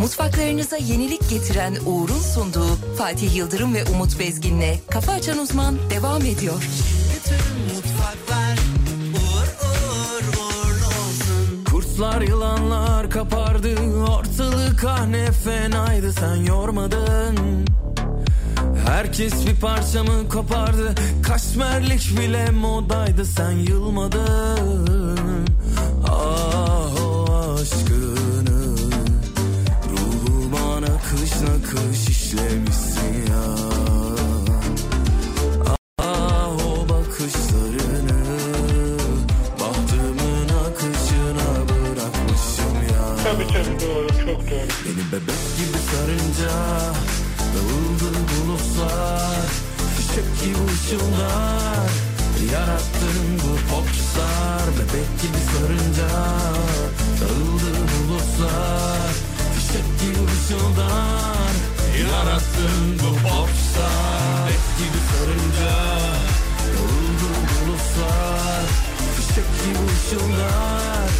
Mutfaklarınıza yenilik getiren Uğur'un sunduğu Fatih Yıldırım ve Umut Bezgin'le Kafa Açan Uzman devam ediyor. Kurtlar yılanlar kapardı Ortalık ah ne fenaydı sen yormadın Herkes bir parçamı kopardı Kaşmerlik bile modaydı sen yılmadın Ah o aşkını Ruhuma nakış nakış işlemişsin ya Ah o bakışlarını Bahtımın akışına bırakmışım ya Tabii tabii doğru çok doğru. Beni bebek gibi sarınca Dağıldı bulutlar Fişek gibi ışıllar Yarattın bu popstar Bebek gibi sarınca Dağıldı bulutlar Fişek gibi ışıldar Yarattın bu popstar Bebek gibi sarınca Dağıldı bulutlar Fişek gibi ışıldar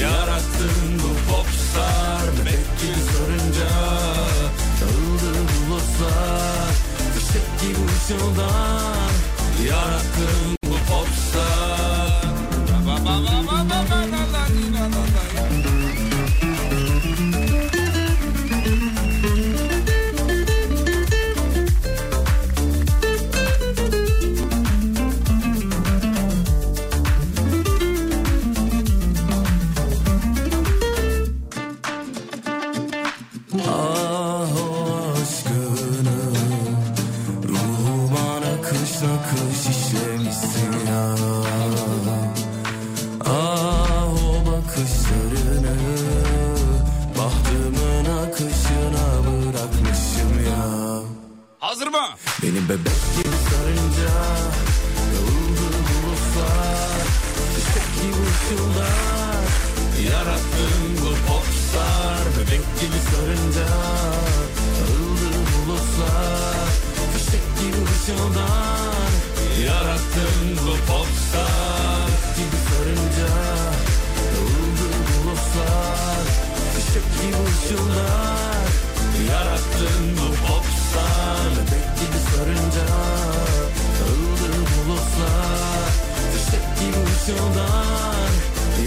Yarattın bu popstar Bebek gibi sarınca Dağıldı bulutlar Fişek gibi ışıldar Yarattın bu popstar Ah o aşkını Ruhuma nakış nakış işlemişsin ya Ah o bakışlarını Bahtımın akışına bırakmışım ya Hazır mı? Beni bebek gibi sarınca Dağıldı bulutlar Çiçek gibi ışıldar Yarattın bu popstar Bebek gibi sarınca Dağıldı bulutlar Çiçek gibi ışıldar Yarattın bu popstar Bebek gibi sarınca Dağıldı bulutlar Çiçek gibi ışıldar Yarattın bu popstar Bebek gibi sarınca Dağıldı bulutlar Fişek gibi ışıldar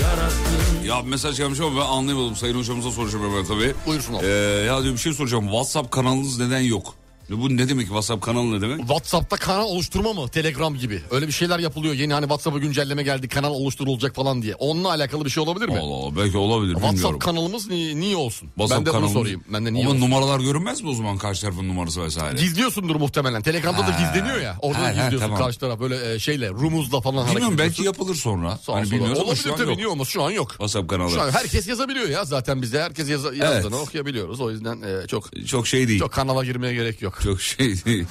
Yarattın Ya mesaj gelmiş ama ben anlayamadım. Sayın hocamıza soracağım ben tabii. Buyursun abi. Ee, ya diyor bir şey soracağım. WhatsApp kanalınız neden yok? Ya Bu ne demek WhatsApp kanalı ne demek? WhatsApp'ta kanal oluşturma mı? Telegram gibi. Öyle bir şeyler yapılıyor. Yeni hani WhatsApp'a güncelleme geldi. Kanal oluşturulacak falan diye. Onunla alakalı bir şey olabilir mi? Allah Allah belki olabilir bilmiyorum. WhatsApp kanalımız ni- niye olsun? ben de bunu kanalımız- sorayım. Ben de niye Ama olsun? numaralar görünmez mi o zaman karşı tarafın numarası vesaire? Gizliyorsundur muhtemelen. Telegram'da da Ha. gizleniyor ya. Orada Ha, da ha, gizliyorsun tamam. karşı taraf. Böyle e, şeyle rumuzla falan hareket Bilmiyorum belki ediyorsun. yapılır sonra. Sağ hani sola. bilmiyoruz ama şu Olabilir an tabii yok. niye olmaz şu an yok. WhatsApp Şu an kanalı. herkes yazabiliyor ya zaten bizde herkes yaz, yazdığını okuyabiliyoruz. O yüzden e, çok Çok şey değil. çok kanala girmeye gerek yok. Çok şey değil.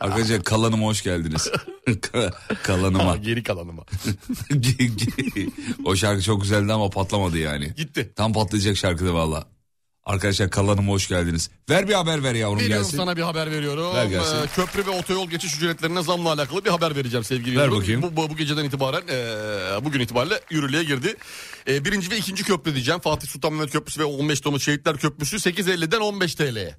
Arkadaşlar kalanıma hoş geldiniz. Ka- kalanıma. Geri kalanıma. o şarkı çok güzeldi ama patlamadı yani. Gitti. Tam patlayacak şarkıda valla. Arkadaşlar kalanıma hoş geldiniz. Ver bir haber ver yavrum Veriyorum gelsin. sana bir haber veriyorum. Ver gelsin. Ee, köprü ve otoyol geçiş ücretlerine zamla alakalı bir haber vereceğim sevgili Ver yıldırım. bakayım. Bu, bu, bu geceden itibaren e, bugün itibariyle yürürlüğe girdi. E, birinci ve ikinci köprü diyeceğim. Fatih Sultan Mehmet Köprüsü ve 15 Temmuz Şehitler Köprüsü 8.50'den 15 TL'ye.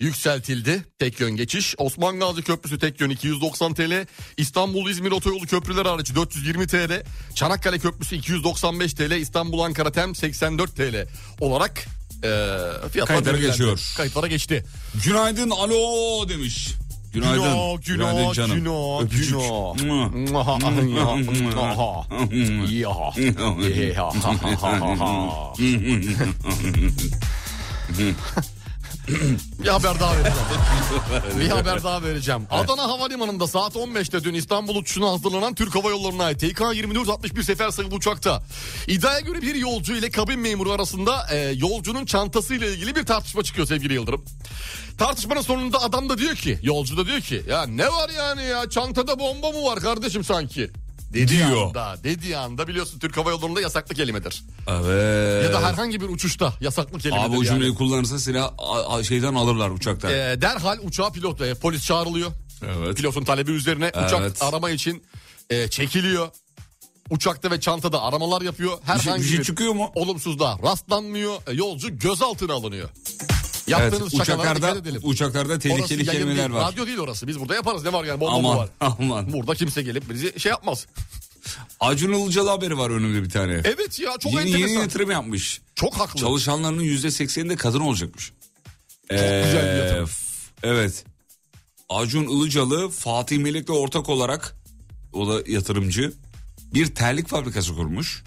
Yükseltildi. Tek yön geçiş. Osman Gazi Köprüsü tek yön 290 TL. İstanbul İzmir otoyolu köprüleri hariç 420 TL. Çanakkale Köprüsü 295 TL. İstanbul Ankara Tem 84 TL olarak e, fiyatlar Kayıtlara belirlendi. geçiyor. Kayıtlara geçti. Günaydın alo demiş. Günaydın. Günaydın. Günaydın Günaydın canım. Günaydın. Öpücük. Hmm. Bir haber daha vereceğim. Bir haber daha vereceğim. Adana Havalimanı'nda saat 15'te dün İstanbul uçuşuna hazırlanan Türk Hava Yolları'na ait TK 2461 sefer sayılı uçakta iddiaya göre bir yolcu ile kabin memuru arasında e, yolcunun çantasıyla ilgili bir tartışma çıkıyor sevgili Yıldırım. Tartışmanın sonunda adam da diyor ki, yolcu da diyor ki ya ne var yani ya çantada bomba mı var kardeşim sanki? Dediği Diyor. anda, dediği anda biliyorsun Türk Hava Yolları'nda yasaklı kelimedir. Evet. Ya da herhangi bir uçuşta yasaklı kelimedir. Ee, Abi o yani. cümleyi kullanırsa silah a- a- şeyden alırlar uçaktan. E, derhal uçağa pilot, e, polis çağrılıyor. Evet. Pilotun talebi üzerine Evet. uçak arama için e, çekiliyor. Uçakta ve çantada aramalar yapıyor. Herhangi bir bir, şey çıkıyor mu? olumsuzluğa rastlanmıyor. E, yolcu gözaltına alınıyor. Evet, Yaptığınız şakalara dikkat uçaklarda, edelim. uçaklarda Orası tehlikeli yayın kelimeler değil, var. Radyo değil orası. Biz burada yaparız. Ne var yani? Bomba mı Aman var? aman. Burada kimse gelip bizi şey yapmaz. Acun Ilıcalı haberi var önümde bir tane. Evet ya çok yeni yeni enteresan. yatırım yapmış. Çok haklı. Çalışanlarının yüzde sekseni de kadın olacakmış. Çok güzel bir yatırım. Evet. Acun Ilıcalı Fatih Melek'le ortak olarak o da yatırımcı bir terlik fabrikası kurmuş.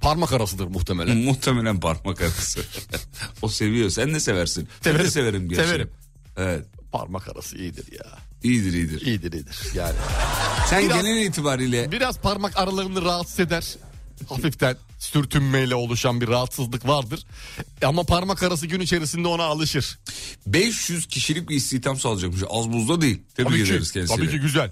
Parmak arasıdır muhtemelen. Muhtemelen parmak arası. o seviyor. Sen de seversin. Ben de Severim. severim. gerçi. Severim. Evet. Parmak arası iyidir ya. İyidir iyidir. İyidir iyidir. Yani Sen Biraz- genel itibariyle Biraz parmak aralarını rahatsız eder. Hafiften sürtünmeyle oluşan bir rahatsızlık vardır. E Ama parmak arası gün içerisinde ona alışır. 500 kişilik bir istihdam sağlayacakmış. Az buzda değil. Tebrik Tabii ederiz ki, kendisini. tabii ki güzel.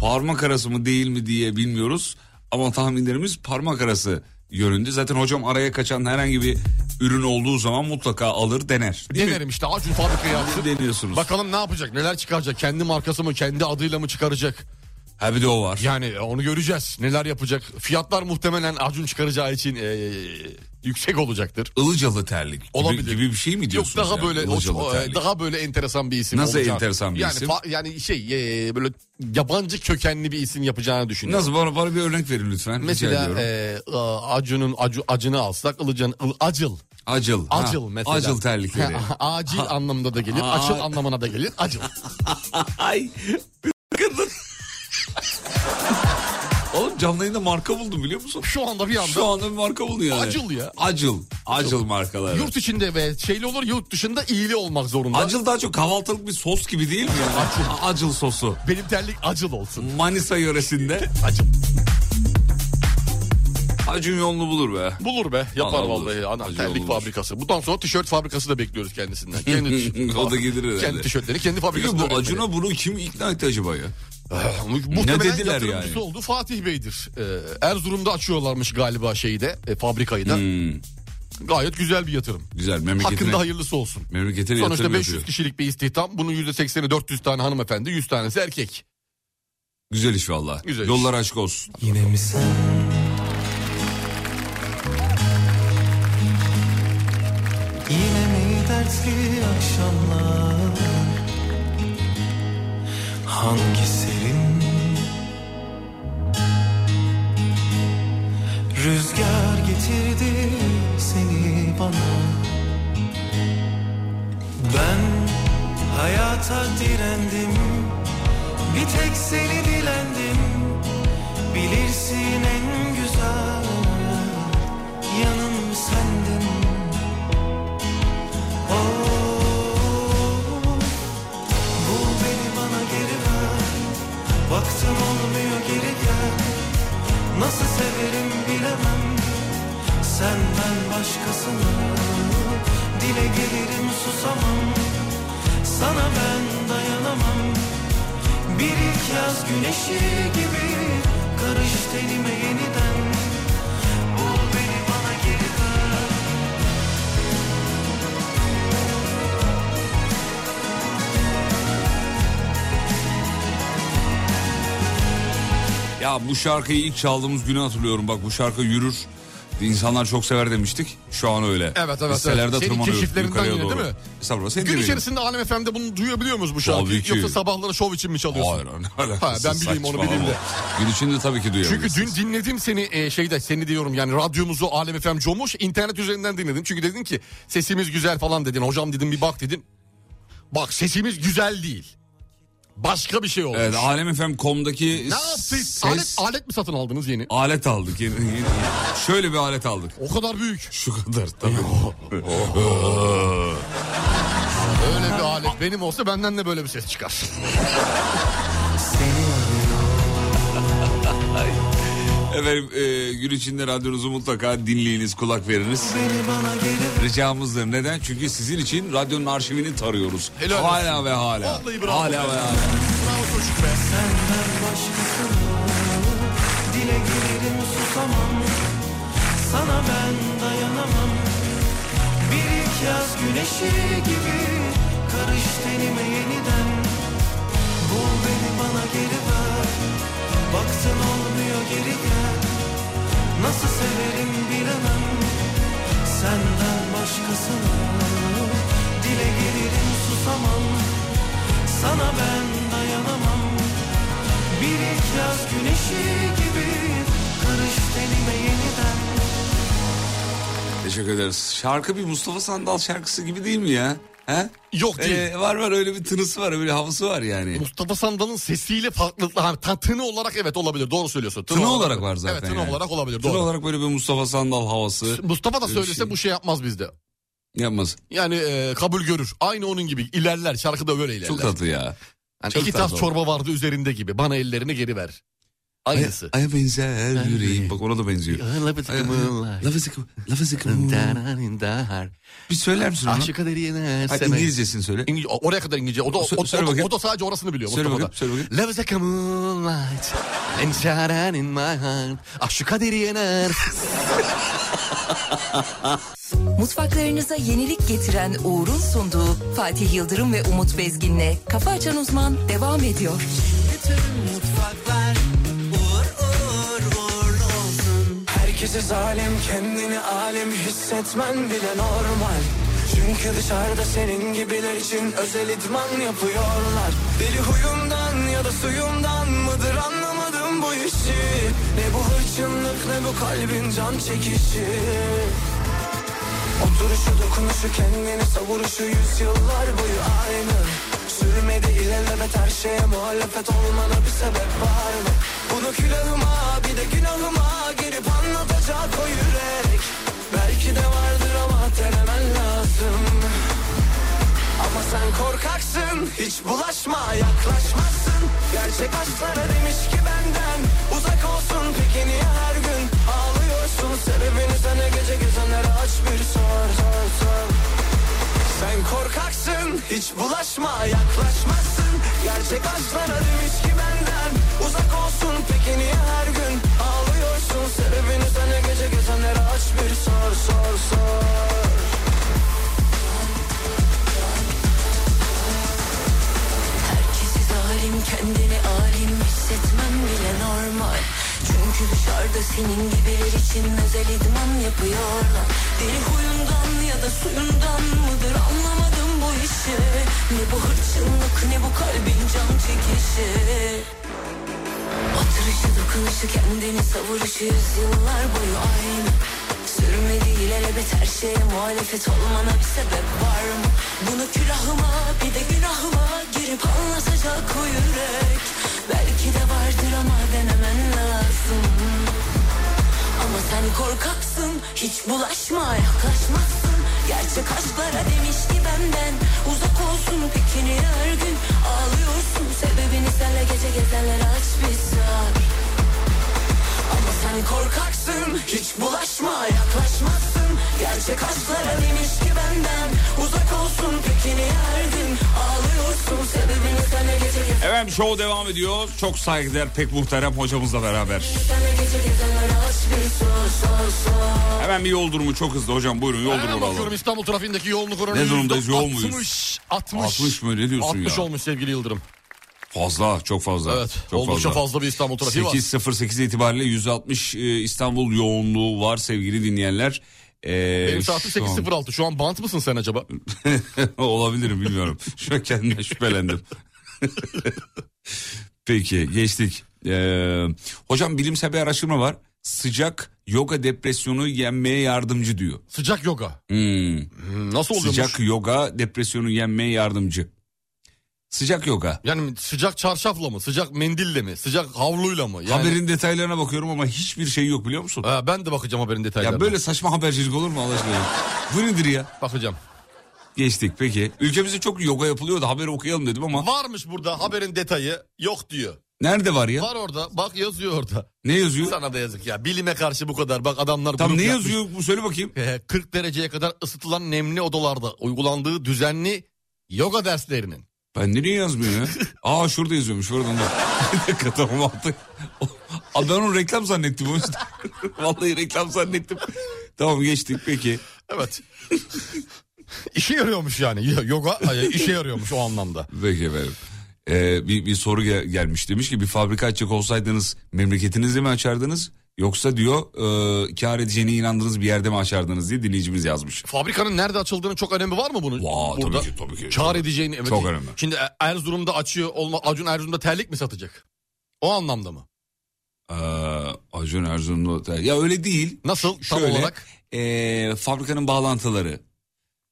Parmak arası mı değil mi diye bilmiyoruz. Ama tahminlerimiz parmak arası yönünde. Zaten hocam araya kaçan herhangi bir ürün olduğu zaman mutlaka alır dener. Değil mi? Denerim işte Acun fabrikayı açsın. Deniyorsunuz. Bakalım ne yapacak, neler çıkaracak? Kendi markası mı, kendi adıyla mı çıkaracak? Ha bir de o var. Yani e, onu göreceğiz. Neler yapacak? Fiyatlar muhtemelen Acun çıkaracağı için e, yüksek olacaktır. Ilıcalı terlik gibi, Olabilir. gibi bir şey mi Yok diyorsunuz? daha yani? böyle o- Ilıcalı o- terlik. daha böyle enteresan bir isim Nasıl olacak. enteresan bir yani, isim? fa- yani şey e, böyle yabancı kökenli bir isim yapacağını düşünüyorum. Nasıl bana, bana bir örnek verin lütfen. Rica Mesela ediyorum. e, a- Acun'un acu, acını alsak Ilıcan, Il- acıl. acıl. ha. Acıl mesela. Acıl terlikleri. Acil anlamında da gelir. Ha. Açıl anlamına da gelir. Acıl. Ay. Kadın. Oğlum canlı yayında marka buldum biliyor musun? Şu anda bir anda. Şu anda bir marka buldu yani. Acıl ya. Acıl. Acıl markaları. Yurt içinde ve şeyli olur yurt dışında iyili olmak zorunda. Acıl daha çok kahvaltılık bir sos gibi değil mi? Yani? Acıl. sosu. Benim terlik acıl olsun. Manisa yöresinde. Acıl. Acun yolunu bulur be. Bulur be. Yapar Vallahi bulur. vallahi. Ana Acil terlik olur. fabrikası. Bundan sonra tişört fabrikası da bekliyoruz kendisinden. Kendi O da gelir herhalde. Kendi tişörtleri kendi Peki fabrikasında. bu Acun'a bunu kim ikna etti acaba ya? Ah, Muhtemelen Ne dediler yatırımcısı yani? oldu Fatih Bey'dir. Ee, Erzurum'da açıyorlarmış galiba şeyi de e, fabrikayı da. Gayet güzel bir yatırım. Güzel Hmm. memleketine. Hakkında hayırlısı olsun. Memleketine Sonuçta yatırım 500 yapıyor. kişilik bir istihdam. Bunun %80'i 400 tane hanımefendi, 100 tanesi erkek. Güzel iş valla. Güzel iş. Yollar açık olsun. Yine mi sen? Yine mi dertli akşamlar? Hangi serin? Rüzgar getirdi seni bana Ben hayata direndim Bir tek seni dilendim Bilirsin en güzel yanım sendin. Oh, bul beni bana geri ver. Baktın olmuyor geri gel. Nasıl severim bilemem. Senden başkasını dile gelirim susamam. Sana ben dayanamam. Bir ilk yaz güneşi gibi karış tenime yeniden Bul beni bana geri dön Ya bu şarkıyı ilk çaldığımız günü hatırlıyorum. Bak bu şarkı yürür. İnsanlar çok sever demiştik. Şu an öyle. evet, evet. Listelerde Senin tırmanıyor keşiflerinden yukarıya yine doğru. değil mi? Estağfurullah. Senin Gün de içerisinde Alem FM'de bunu duyabiliyor muyuz bu şarkıyı? Tabii ki. Yoksa sabahları şov için mi benim. çalıyorsun? Hayır ne alakası? Ha, ben bileyim, onu saçmalama. bileyim de. Gün içinde tabii ki duyabilirsin. Çünkü dün dinledim seni e, şeyde seni diyorum yani radyomuzu Alem FM comuş internet üzerinden dinledim. Çünkü dedin ki sesimiz güzel falan dedin. Hocam dedim bir bak dedin. Bak sesimiz güzel değil. Başka bir şey olmuş. Evet, alemfm.com'daki Ne yaptık? E, ses... Alet, alet mi satın aldınız yeni? Alet aldık. Yeni- yeni- Şöyle bir alet aldık. O kadar büyük. Şu kadar tabii. oh, Öyle bir alet benim olsa benden de böyle bir ses çıkar. Efendim e, gün içinde radyonuzu mutlaka dinleyiniz, kulak veriniz. Ricamızdır. Neden? Çünkü sizin için radyonun arşivini tarıyoruz. Helal olsun. hala ve hala. Vallahi bravo. Hala ve hala. Bravo çocuk be. Dile gelirim susamam Sana ben dayanamam Bir ilk yaz güneşi gibi Karış tenime yeniden Bul beni bana geri ver Baksın olmuyor geri gel Nasıl severim bilemem Senden başkasını Dile gelirim susamam Sana ben dayanamam bir ilk yaz güneşi gibi Karış tenime yeniden Teşekkür ederiz. Şarkı bir Mustafa Sandal şarkısı gibi değil mi ya? He? Yok değil. Ee, var var öyle bir tınısı var, öyle bir havası var yani. Mustafa Sandal'ın sesiyle farklılıkla hani ta- tını olarak evet olabilir doğru söylüyorsun. Tını olarak var zaten Evet tını yani. olarak olabilir Tın doğru. olarak böyle bir Mustafa Sandal havası Mustafa da Öyle bir söylese şey. bu şey yapmaz bizde. yapmaz. Yani e, kabul görür. Aynı onun gibi ilerler. Şarkıda böyle ilerler. Çok tatlı ya. Yani çok Hani iki tatlı tas oldu. çorba vardı üzerinde gibi. Bana ellerini geri ver. Ay- Aynısı. Aya benzer yüreğim. Bak ona da benziyor. Lafı tıkımınlar Lafı sıkı, lafı sıkı. Dararindar Bir söyler misin onu? Aşık kadar yener Hayır, İngilizcesini söyle. İngi- Oraya kadar İngilizce. O da, o, Sö- o- söyle o da- bakayım. o da sadece orasını biliyor Söyle Mustafa'da. bakayım, söyle bakayım. Love is like a moonlight And shining in my heart Ah, Aşık kaderi yener Mutfaklarınıza yenilik getiren Uğur'un sunduğu Fatih Yıldırım ve Umut Bezgin'le Kafa Açan Uzman devam ediyor. Bütün mutfaklar uğur uğur uğurlu olsun Herkese zalim kendini alim hissetmen bile normal Çünkü dışarıda senin gibiler için özel idman yapıyorlar Deli huyumdan ya da suyumdan mıdır anlamadım bu işi Ne bu hırçınlık ne bu kalbin can çekişi Oturuşu dokunuşu kendini savuruşu yüzyıllar boyu aynı Sürmedi ilerlemet her şeye muhalefet olmana bir sebep var mı? Bunu külahıma bir de günahıma girip anlatacak o yürek Belki de vardır ama denemen lazım Ama sen korkaksın hiç bulaşma yaklaşmazsın Gerçek aşklara demiş ki benden uzak olsun peki niye her gün ağlıyorsun Sebebini sana gece gezenlere aç bir sor sor sor sen korkaksın hiç bulaşma yaklaşmazsın Gerçek aşklara demiş ki benden uzak olsun peki niye her gün ağlıyorsun Sebebini sana gece gezenlere aç bir sor sor sor Herkesi zalim kendini alim hissetmen bile normal Çünkü dışarıda senin gibiler için özel idman yapıyorlar Deli huyundan ya da suyundan mıdır anlamadım bu işi Ne bu hırçınlık ne bu kalbin can çekişi Batırışı dokunuşu kendini savuruşu yıllar boyu aynı Sürmedi ilelebet her şeye muhalefet olmana bir sebep var mı? Bunu külahıma bir de günahıma girip anlatacak o yürek Belki de vardır ama denemen lazım Ama sen korkaksın hiç bulaşma yaklaşmazsın Gerçek aşklara demiş ki benden uzak olsun peki niye her gün ağlıyorsun Sebebini senle gece gezenlere aç bir sar ama sen korkaksın Hiç bulaşma yaklaşmazsın Gerçek aşklara demiş ki benden Uzak olsun peki niye her gün Ağlıyorsun sebebini sana gece gece Efendim show devam ediyor. Çok saygıdeğer pek muhterem hocamızla beraber. Sana gece gezenlere aç bir sor sor sor Hemen bir yol durumu çok hızlı hocam buyurun yol Hemen durumunu bakıyorum alalım. İstanbul trafiğindeki yoğunluk oranı. Ne durumdayız, yüzde yoğun muyuz? 60, 60. 60 mı? Ne diyorsun 60 ya? olmuş sevgili Yıldırım. Fazla çok fazla. Evet. çok oldukça fazla. bir İstanbul trafiği var. 8.08 itibariyle 160 e, İstanbul yoğunluğu var sevgili dinleyenler. Ee, Benim saatim şu an- 8.06. Şu an bant mısın sen acaba? Olabilirim bilmiyorum. Şu an kendime şüphelendim. Peki geçtik. Ee, hocam bilimsel bir araştırma var. Sıcak yoga depresyonu yenmeye yardımcı diyor. Sıcak yoga. Hmm. Hmm, Nasıl oluyormuş? Sıcak yoga depresyonu yenmeye yardımcı. Sıcak yoga. Yani sıcak çarşafla mı? Sıcak mendille mi? Sıcak havluyla mı? Yani... Haberin detaylarına bakıyorum ama hiçbir şey yok biliyor musun? Ha, ben de bakacağım haberin detaylarına. Ya böyle saçma habercilik olur mu Allah aşkına? ya? Bu nedir ya? Bakacağım. Geçtik peki. Ülkemizde çok yoga yapılıyor da haberi okuyalım dedim ama Varmış burada haberin detayı yok diyor. nerede var ya? Var orada bak yazıyor orada. Ne yazıyor? Sana da yazık ya bilime karşı bu kadar bak adamlar. Tam grup ne yapmış. yazıyor? Bu söyle bakayım. Ee, 40 dereceye kadar ısıtılan nemli odalarda uygulandığı düzenli yoga derslerinin. Ben de niye yazmıyor ya? Aa şurada yazıyormuş. Buradan da. Bir dakika tamam artık. Adamın reklam zannettim o yüzden. Vallahi reklam zannettim. Tamam geçtik peki. Evet. işe yarıyormuş yani Y- yoga ay, işe yarıyormuş o anlamda. Peki efendim. Ee, bir, bir soru gel- gelmiş demiş ki bir fabrika açacak olsaydınız memleketinizi mi açardınız? Yoksa diyor e, kar edeceğine inandığınız bir yerde mi açardınız diye dinleyicimiz yazmış. Fabrikanın nerede açıldığının çok önemi var mı bunun? Vaa, tabii ki, tabii ki. Kar edeceğini. Evet. Çok önemli. Şimdi E- Erzurum'da açıyor olma Acun Erzurum'da terlik mi satacak? O anlamda mı? Ee, Acun Erzurumlu ya öyle değil. Nasıl tam Şöyle, olarak? e, fabrikanın bağlantıları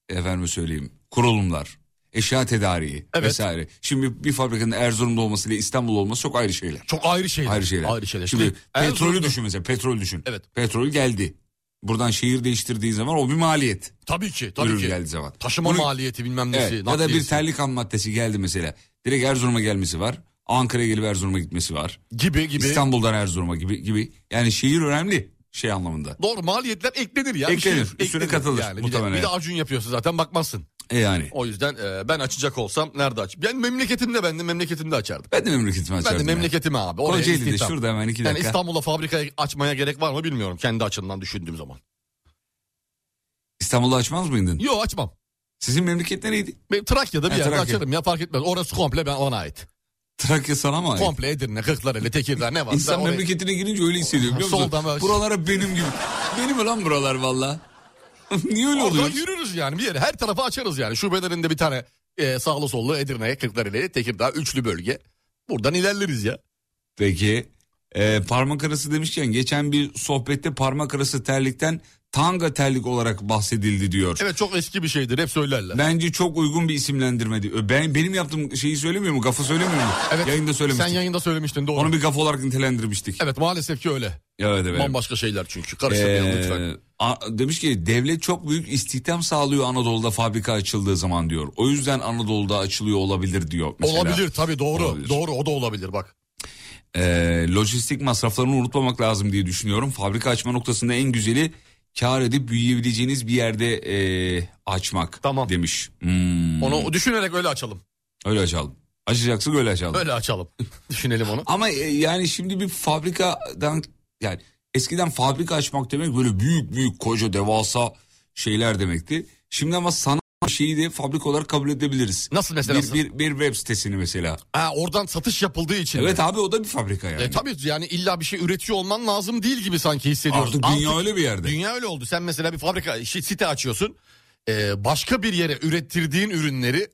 efendim söyleyeyim kurulumlar eşya tedariği Evet. vesaire. Şimdi bir fabrikanın Erzurum'da olması ile İstanbul'da olması çok ayrı şeyler. Çok ayrı şeyler. Ayrı şeyler. Ayrı şeyler. Şimdi petrolü Erzurum'da- düşün mesela petrol düşün. Evet. Petrol geldi. Buradan şehir değiştirdiği zaman o bir maliyet. Tabii ki tabii Ürün ki. geldiği zaman. Taşıma Bunu- maliyeti bilmem nesi. Evet, ya da bir nakliyesi terlik ham maddesi geldi mesela. Direkt Erzurum'a gelmesi var. Ankara'ya gelip Erzurum'a gitmesi var. gibi gibi. İstanbul'dan Erzurum'a gibi gibi. Yani şehir önemli şey anlamında. Doğru maliyetler eklenir ya. Eklenir, Bir üstüne katılır bir de- muhtemelen. Bir de, Acun yapıyorsun zaten bakmazsın. E yani. O yüzden e, ben açacak olsam nerede aç? Ben memleketimde ben de memleketimde açardım. Ben de memleketimi Ben açardım. de ya. memleketime abi. Oraya Kocaeli'de istihdam. şurada hemen iki Yani dakika. İstanbul'a fabrika açmaya gerek var mı bilmiyorum kendi açımdan düşündüğüm zaman. İstanbul'da açmaz mıydın? Yo açmam. Sizin memleket nereydi? Ben Trakya'da bir Ha, yerde Trakya. açarım ya fark etmez. Orası komple ben ona ait. Trakya sana mı ait? Komple Edirne, Kırklareli, Tekirdağ ne varsa. İnsan oraya- memleketine girince öyle hissediyor biliyor musun? Soldan böyle- Buralara benim gibi. benim lan buralar valla. Niye öyle Oradan oluyor? yürürüz yani bir yere. Her tarafa açarız yani. Şubelerinde bir tane e, sağlı sollu Edirne, Kırklareli, Tekirdağ üçlü bölge. Buradan ilerleriz ya. Peki. e, parmak arası demişken geçen bir sohbette parmak arası terlikten tanga terlik olarak bahsedildi diyor. Evet çok eski bir şeydir hep söylerler. Bence çok uygun bir isimlendirme diyor. Ben, benim yaptığım şeyi söylemiyor mu? Gafı söylemiyor mu? Evet. Yayında söylemiştik. Sen yayında söylemiştin doğru. Onu bir gaf olarak nitelendirmiştik. Evet maalesef ki öyle. Evet evet. Bambaşka şeyler çünkü. Karıştırmayalım Ee, lütfen. a- demiş ki devlet çok büyük istihdam sağlıyor Anadolu'da fabrika açıldığı zaman diyor. O yüzden Anadolu'da açılıyor olabilir diyor. mesela. Olabilir tabii doğru. Olabilir. Doğru o da olabilir bak. Ee, lojistik masraflarını unutmamak lazım diye düşünüyorum. Fabrika açma noktasında en güzeli kar edip büyüyebileceğiniz bir yerde e, açmak Tamam. demiş. Hmm, Onu düşünerek öyle açalım. Öyle açalım. Açacaksak öyle açalım. Öyle açalım. Düşünelim onu. Ama e, yani şimdi bir fabrikadan yani eskiden fabrika açmak demek böyle büyük büyük koca devasa şeyler demekti. Şimdi ama sanat bir şeyi de fabrika olarak kabul edebiliriz. Nasıl mesela? Bir, bir, bir web sitesini mesela. Ha, oradan satış yapıldığı için. Evet abi o da bir fabrika yani. E, tabii yani illa bir şey üretiyor olman lazım değil gibi sanki hissediyoruz. Artık dünya öyle bir yerde. Dünya öyle oldu. Sen mesela bir fabrika şi- site açıyorsun. E, başka bir yere ürettirdiğin ürünleri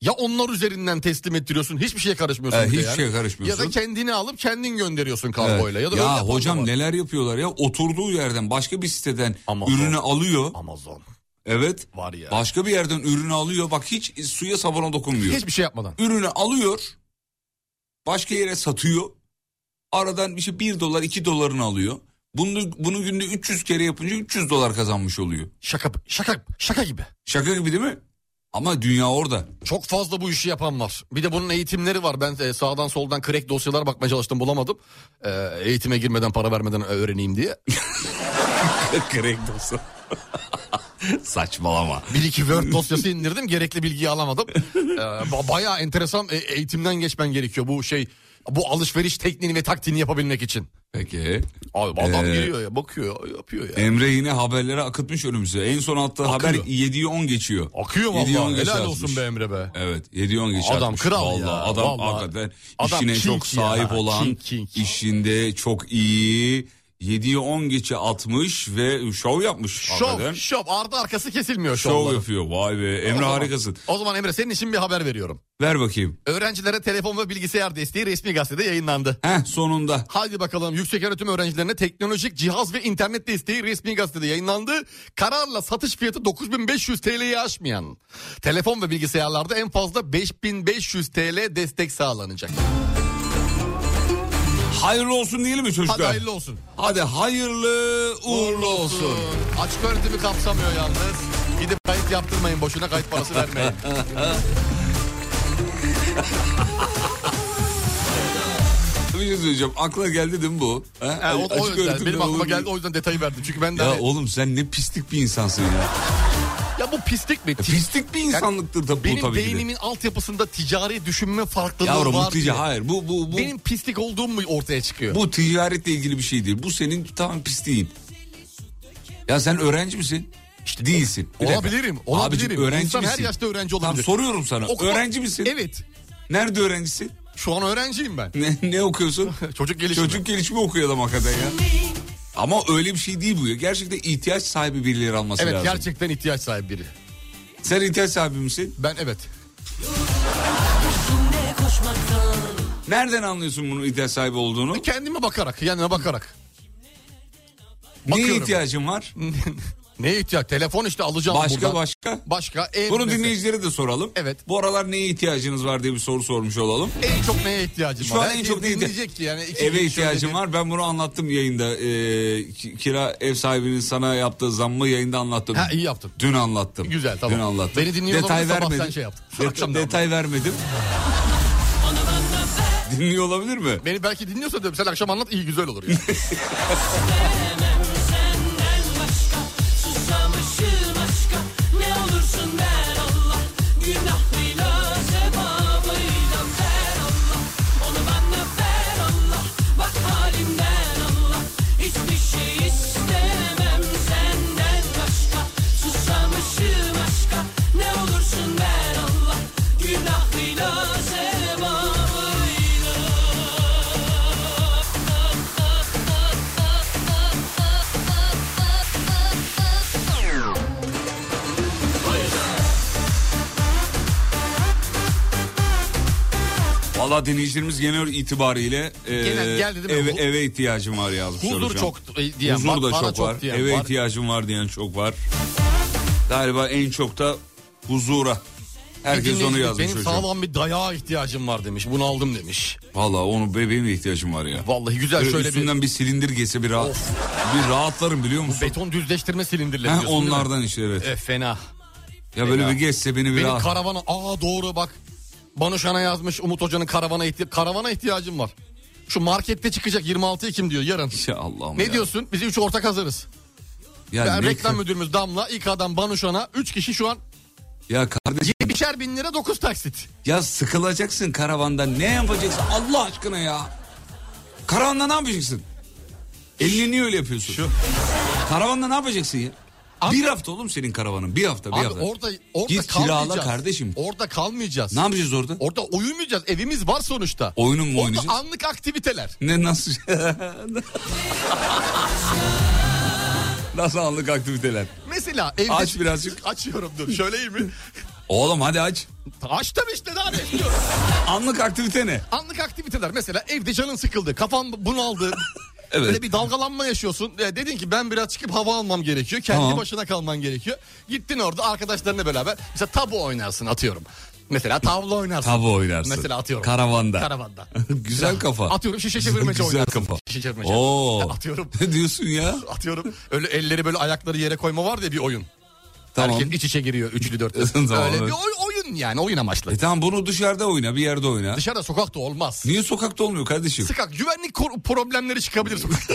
ya onlar üzerinden teslim ettiriyorsun. Hiçbir şeye karışmıyorsun. E, bir de hiçbir yani. şeye Ya karışmıyorsun. da kendini alıp kendin gönderiyorsun Evet. kargoyla. Ya, da öyle ya yapan da hocam var. neler yapıyorlar ya oturduğu yerden başka bir siteden Ama- ürünü alıyor. Amazon Evet. var ya. Başka bir yerden ürünü alıyor. Bak hiç suya sabuna dokunmuyor. Hiçbir şey yapmadan. ürünü alıyor. Başka yere satıyor. Aradan bir şey 1 dolar 2 dolarını alıyor. Bunu, bunu günde 300 kere yapınca 300 dolar kazanmış oluyor. Şaka şaka şaka gibi. Şaka gibi değil mi? Ama dünya orada. Çok fazla bu işi yapan var. Bir de bunun eğitimleri var. Ben e, sağdan soldan crack dosyalara bakmaya çalıştım bulamadım. E, eğitime girmeden para vermeden öğreneyim diye. Gerek olsa. Saçmalama. Bir iki Word dosyası indirdim gerekli bilgiyi alamadım. E, ba- bayağı enteresan e, eğitimden geçmen gerekiyor bu şey. Bu alışveriş tekniğini ve taktiğini yapabilmek için. Peki. Abi adam Ee, giriyor ya bakıyor yapıyor ya. Emre yine haberlere akıtmış önümüze. En son attığı haber 7'yi 10 geçiyor. Akıyor Yediği on vallahi geçe helal atmış. olsun be Emre be. Evet 7 10 geç Adam atmış. kral Vallahi ya, Adam vallahi. hakikaten Adam işine king çok ya, sahip olan king, king. işinde çok iyi 7'ye 10 geçe atmış ve şov yapmış. Şov, hakikaten. şov. Ardı arkası kesilmiyor Şov şovların. yapıyor. Vay be O E, Emre zaman- harikasın. O zaman Emre senin için bir haber veriyorum. Ver bakayım. Öğrencilere telefon ve bilgisayar desteği resmi gazetede yayınlandı. Heh sonunda. Hadi bakalım yüksek öğretim öğrencilerine teknolojik cihaz ve internet desteği resmi gazetede yayınlandı. Kararla satış fiyatı 9500 TL'yi aşmayan telefon ve bilgisayarlarda en fazla 5500 TL destek sağlanacak. Hayırlı olsun diyelim mi çocuklar? Hadi hayırlı olsun. Hadi hayırlı uğurlu olsun. Açık öğretimi kapsamıyor yalnız. Gidip kayıt yaptırmayın boşuna kayıt parası vermeyin. Bir şey söyleyeceğim. Akla geldi değil mi bu? He? Yani o, o Açık yüzden öğretimden benim aklıma olur mu? geldi o yüzden detayı verdim. Çünkü ben de Ya hani- oğlum sen ne pislik bir insansın ya. ya bu pislik mi? Ya Pislik bir insanlıktır tabii bu Benim tabii ki de. beynimin altyapısında ticari düşünme farklılığı Yavrum var. bu ticari. diye. Hayır bu bu bu. Benim pislik olduğum mu ortaya çıkıyor? Bu ticaretle ilgili bir şey değil. Bu senin tam pisliğin. Ya sen öğrenci misin? İşte değilsin. Bir dakika. olabilirim, olabilirim. Abicim, öğrenci İnsan her misin? yaşta öğrenci Tamam, olabilir. soruyorum sana. Okuma- Öğrenci misin? Evet. Nerede öğrencisin? Şu an öğrenciyim ben. Ne, ne okuyorsun? Çocuk gelişimi. Çocuk gelişimi okuyor adam hakikaten ya. Ama öyle bir şey değil bu ya. Gerçekten ihtiyaç sahibi birileri alması Evet lazım. gerçekten ihtiyaç sahibi biri. Sen ihtiyaç sahibi misin? Ben evet. Nereden anlıyorsun bunun ihtiyaç sahibi olduğunu? Kendime bakarak, yanına bakarak. Neye bakıyorum. ihtiyacın var? Neye ihtiyaç? Telefon işte alacağım Başka buradan. başka? Başka. Ev Bunu E, mesela. dinleyicilere de soralım. Evet. Bu aralar neye ihtiyacınız var diye bir soru sormuş olalım. En çok neye ihtiyacım Şu var? an en Herkes çok neye- dinleyecek ki yani. iki gün Eve şöyle ihtiyacım bir- var. Ben bunu anlattım yayında. Ee, ki- kira ev sahibinin sana yaptığı zammı yayında anlattım. Ha, iyi yaptın. Dün anlattım. Güzel, tamam. Dün anlattım. Beni dinliyor olabilir, sabah sen şey yaptın. Det- Akşam da detay vermedim. Dinliyor olabilir mi? Beni belki dinliyorsa diyorum sen akşam anlat iyi güzel olur. Yani. Valla dinleyicilerimiz genel itibariyle e, Genel geldi değil mi? eve, Hu- eve ihtiyacım var yazmışlar Huzur hocam. çok e, diyen Huzur var. da para çok var. diyen Eve var. ihtiyacım var diyen çok var. Galiba en çok da huzura. Herkes onu Dinleyicimiz, yazmış Benim hocam. sağlam bir dayağa ihtiyacım var demiş. Bunu aldım demiş. Valla onu bebeğim de ihtiyacım var ya. Vallahi güzel Böyle şöyle üstünden bir... silindir gelse bir rahat. Of. Bir rahatlarım biliyor musun? bir beton düzleştirme silindirleri Ha, diyorsun değil mi? onlardan işte evet. E, fena. ya böyle fena. bir geçse beni bir Benim rahat. karavana aa doğru bak. Banuşan'a yazmış Umut Hoca'nın karavana ihti karavana ihtiyacım var. Şu markette çıkacak 26 Ekim diyor yarın. Ya Allah'ım Ne ya. diyorsun? Biz üç ortak hazırız. Ya, Ben ne- reklam müdürümüz Damla, İK'dan Banuşan'a 3 kişi şu an ya kardeşim 7'şer bin lira 9 taksit. ya sıkılacaksın karavandan. Ne yapacaksın Allah aşkına ya? Karavanda ne yapacaksın? Elini niye öyle yapıyorsun? Karavanda ne yapacaksın ya? bir hafta oğlum senin karavanın. Bir hafta bir Abi hafta. orada orada Git kirala kalmayacağız. kardeşim. Orada kalmayacağız. Ne yapacağız orada? Orada uyumayacağız. Evimiz var sonuçta. Oyunun mu Orada oynayacağız? anlık aktiviteler. Ne nasıl? şey- nasıl anlık aktiviteler? Mesela evde... Aç birazcık. Açıyorum dur. Şöyle iyi mi? Oğlum hadi aç. Aç tabii işte daha ne istiyorum. Anlık aktivite ne? Anlık aktiviteler. Mesela evde canın sıkıldı. Kafan bunaldı. Evet. Böyle bir dalgalanma yaşıyorsun. E, dedin ki ben biraz çıkıp hava almam gerekiyor. Kendi Tamam. başına kalman gerekiyor. Gittin orada arkadaşlarınla beraber. Mesela tabu oynarsın atıyorum. Mesela tavla oynarsın. Tabu oynarsın. Mesela atıyorum. Karavanda. Karavanda. Güzel kafa. Atıyorum şişe çevirmece Güzel oynarsın. kafa. Şişe çevirmece. Oo. Atıyorum. Ne diyorsun ya? Atıyorum. Öyle elleri böyle ayakları yere koyma var diye bir oyun. Tamam. Herkes iç içe giriyor üçlü dörtlü. Tamam, Öyle evet. bir oy- oyun yani oyun amaçlı. E tamam bunu dışarıda oyna bir yerde oyna. Dışarıda sokakta olmaz. Niye sokakta olmuyor kardeşim? Sıkak güvenlik kor- problemleri çıkabilir sokakta.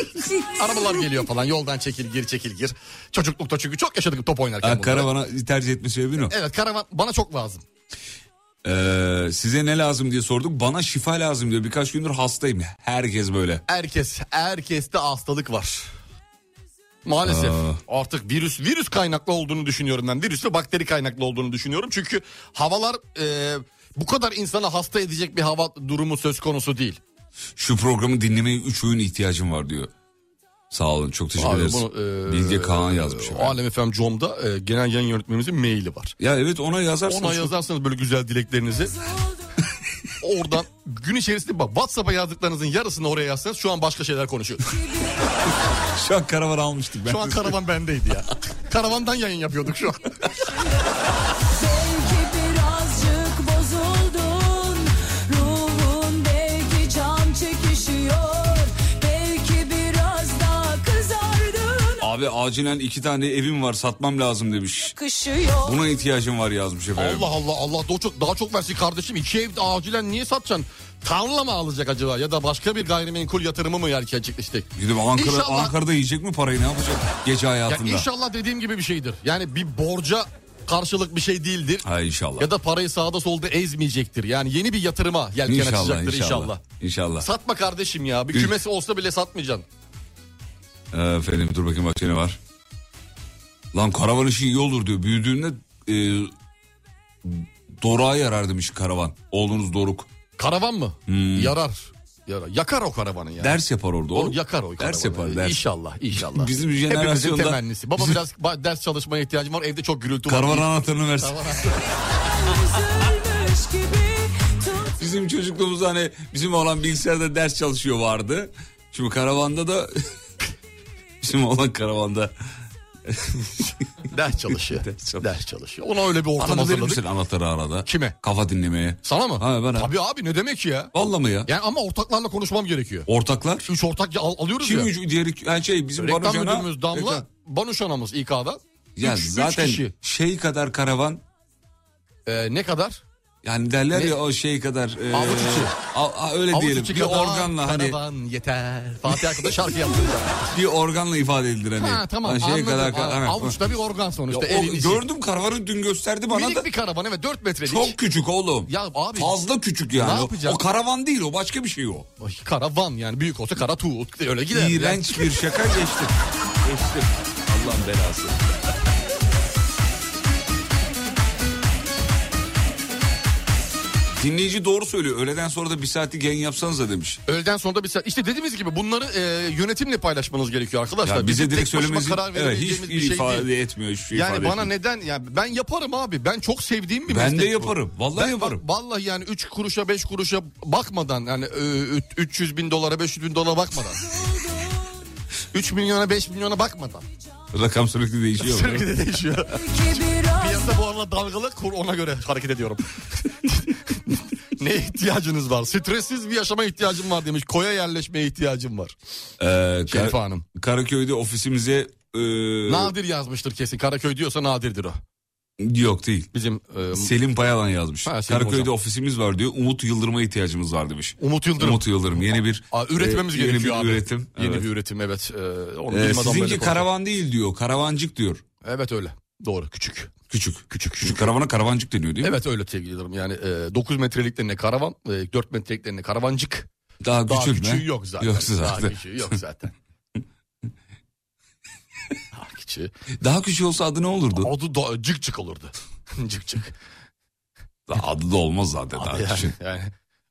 Arabalar geliyor falan yoldan çekil gir çekil gir. Çocuklukta çünkü çok yaşadık top oynarken. Ha, bunları. karavana tercih etme sebebin o. Evet karavan bana çok lazım. Ee, size ne lazım diye sorduk. Bana şifa lazım diyor. Birkaç gündür hastayım. Herkes böyle. Herkes herkeste hastalık var. Maalesef artık virüs virüs kaynaklı olduğunu düşünüyorum ben. Virüs ve bakteri kaynaklı olduğunu düşünüyorum. Çünkü havalar e, bu kadar insana hasta edecek bir hava durumu söz konusu değil. Şu programı dinlemeye 3 öğün ihtiyacım var diyor. Sağ olun çok teşekkür Abi ederiz. bunu, e, Bilge Kağan yazmış. O Alem FM Com'da e, genel yayın yönetmenimizin maili var. Ya evet ona yazarsanız. Ona çok- yazarsanız böyle güzel dileklerinizi. Oradan gün içerisinde bak WhatsApp'a yazdıklarınızın yarısını oraya yazsanız şu an başka şeyler konuşuyoruz. Şu an karavan almıştık. Ben Şu an karavan bendeydi ya. Karavandan yayın yapıyorduk şu an. Belki birazcık bozuldun Ruhun belki can çekişiyor Belki biraz daha kızardın Abi acilen iki tane evim var satmam lazım demiş. Kışıyor Buna ihtiyacım var yazmış efendim. Allah Allah Allah daha çok, daha çok versin kardeşim. İki ev acilen niye satacaksın? Tarla mı alacak acaba ya da başka bir gayrimenkul yatırımı mı gerçekleşecek? Gidip Ankara, İnşallah. Ankara'da yiyecek mi parayı ne yapacak gece hayatında? Yani inşallah dediğim gibi bir şeydir. Yani bir borca karşılık bir şey değildir. Ha inşallah. Ya da parayı sağda solda ezmeyecektir. Yani yeni bir yatırıma yelken inşallah, açacaktır inşallah. inşallah. İnşallah. Satma kardeşim ya. Bir Üç. kümesi olsa bile satmayacaksın. Ee, efendim dur bakayım başka ne var. Lan karavan işi iyi olur diyor. Büyüdüğünde e, Doruk'a yarar demiş karavan. Oğlunuz Doruk. Hmm. Karavan mı? Yarar. Yarar. Yakar o karavanı ya. Ders yapar orada o oğlum. yakar o Ders karavanı. yapar ders. İnşallah inşallah. Bizim Hepimizin jenerasyonda- temennisi. Baba Bizim- biraz ba- ders çalışmaya ihtiyacım var. Evde çok gürültü var. Karavan İyi- anahtarını versin. Karavan- üzülmüş gibi tut Bizim çocukluğumuzda hani bizim oğlan bilgisayarda ders çalışıyor vardı. Şimdi karavanda da bizim oğlan karavanda ders çalışıyor. Ders çalışıyor. ders çalışıyor. Ona öyle bir ortam Bana da verir hazırladık. misin anahtarı arada? Kime? Kafa dinlemeye. Sana mı? Ha, ben- Tabii abi ne demek ya? Valla mı ya? Yani ama ortaklarla konuşmam gerekiyor. Ortaklar? Üç ortak al- alıyoruz Kim ya. üç- diğer iki- yani şey bizim Reklam Banucan'a- müdürümüz Damla, Banuş anamız İK'da. Ya üç, üç zaten kişi. şey kadar karavan Ee, ne kadar? yani derler Ne? ya o şey kadar. e, Avuç içi. a- a- öyle Avuç diyelim. içi Bir kadar organla hani karavan yeter. Fatih arkadaş şarkı yaptı. bir organla ifade edilir hani. ha tamam Hani anladım. şeye kadar Ha, hani- Avuçta bir organ Ya sonuçta. o- elin içi. gördüm karavanı dün gösterdi bana Minik da. bir karavan evet 4 metrelik. Çok küçük oğlum. Ya abi- Fazla küçük yani. Ne yapacağım? O karavan değil o başka bir şey o. Ay, karavan yani büyük olsa kara tuğut öyle gider. Yani İğrenç bir şaka geçtim. Geçtim. Allah'ın belası. Dinleyici doğru söylüyor. Öğleden sonra da bir saatlik yayın yapsanız da demiş. Öğleden sonra da bir saat. İşte dediğimiz gibi bunları e, yönetimle paylaşmanız gerekiyor arkadaşlar. Ya bize Bizim direkt tek başıma söylemesi karar evet, hiç verebileceğimiz bir şey ifade değil. etmiyor. Hiç şey Yani ifade bana etmiyor. neden yani ben yaparım abi. Ben çok sevdiğim bir Ben meslek. de bu. yaparım. Vallahi Ben bak- yaparım. vallahi yani 3 kuruşa 5 kuruşa bakmadan yani e, üç- 300 bin dolara 500 bin dolara bakmadan. 3 milyona 5 milyona bakmadan. Rakam sürekli değişiyor. Sürekli de değişiyor. ki biraz Piyasa bu arada dalgalı kur ona göre hareket ediyorum. ne ihtiyacınız var? Stressiz bir yaşama ihtiyacım var demiş. Koya yerleşmeye ihtiyacım var. Ee, Kar- Şerife Hanım. Karaköy'de ofisimize e, Nadir yazmıştır kesin. Karaköy diyorsa Nadir'dir o. yok değil. Bizim e, Selim Payalan yazmış. Ha, Selim Karaköy'de hocam. ofisimiz var diyor. Umut Yıldırım'a ihtiyacımız var demiş. Umut Yıldırım. Umut Yıldırım yeni bir Aa, üretmemiz e, gerekiyor yeni abi. bir üretim. Yeni evet. bir üretim evet. E, onu Ee, bilim adamlarıyla sizinki karavan değil diyor. Karavancık diyor. konuşalım. Evet öyle. Doğru küçük. Küçük. Küçük. Küçük karavana karavancık deniyor değil mi? Evet öyle sevgili Yıldırım. Yani e, 9 metreliklerine karavan, e, 4 metreliklerine karavancık. Daha, Daha küçülme. küçüğü yok zaten. Yok zaten. Daha Daha, küçüğü yok zaten. Daha küçüğü. küçük olsa adı ne olurdu? Adı da cık cık olurdu. cık cık. Daha Adı da olmaz zaten daha Abi yani, küçük. yani.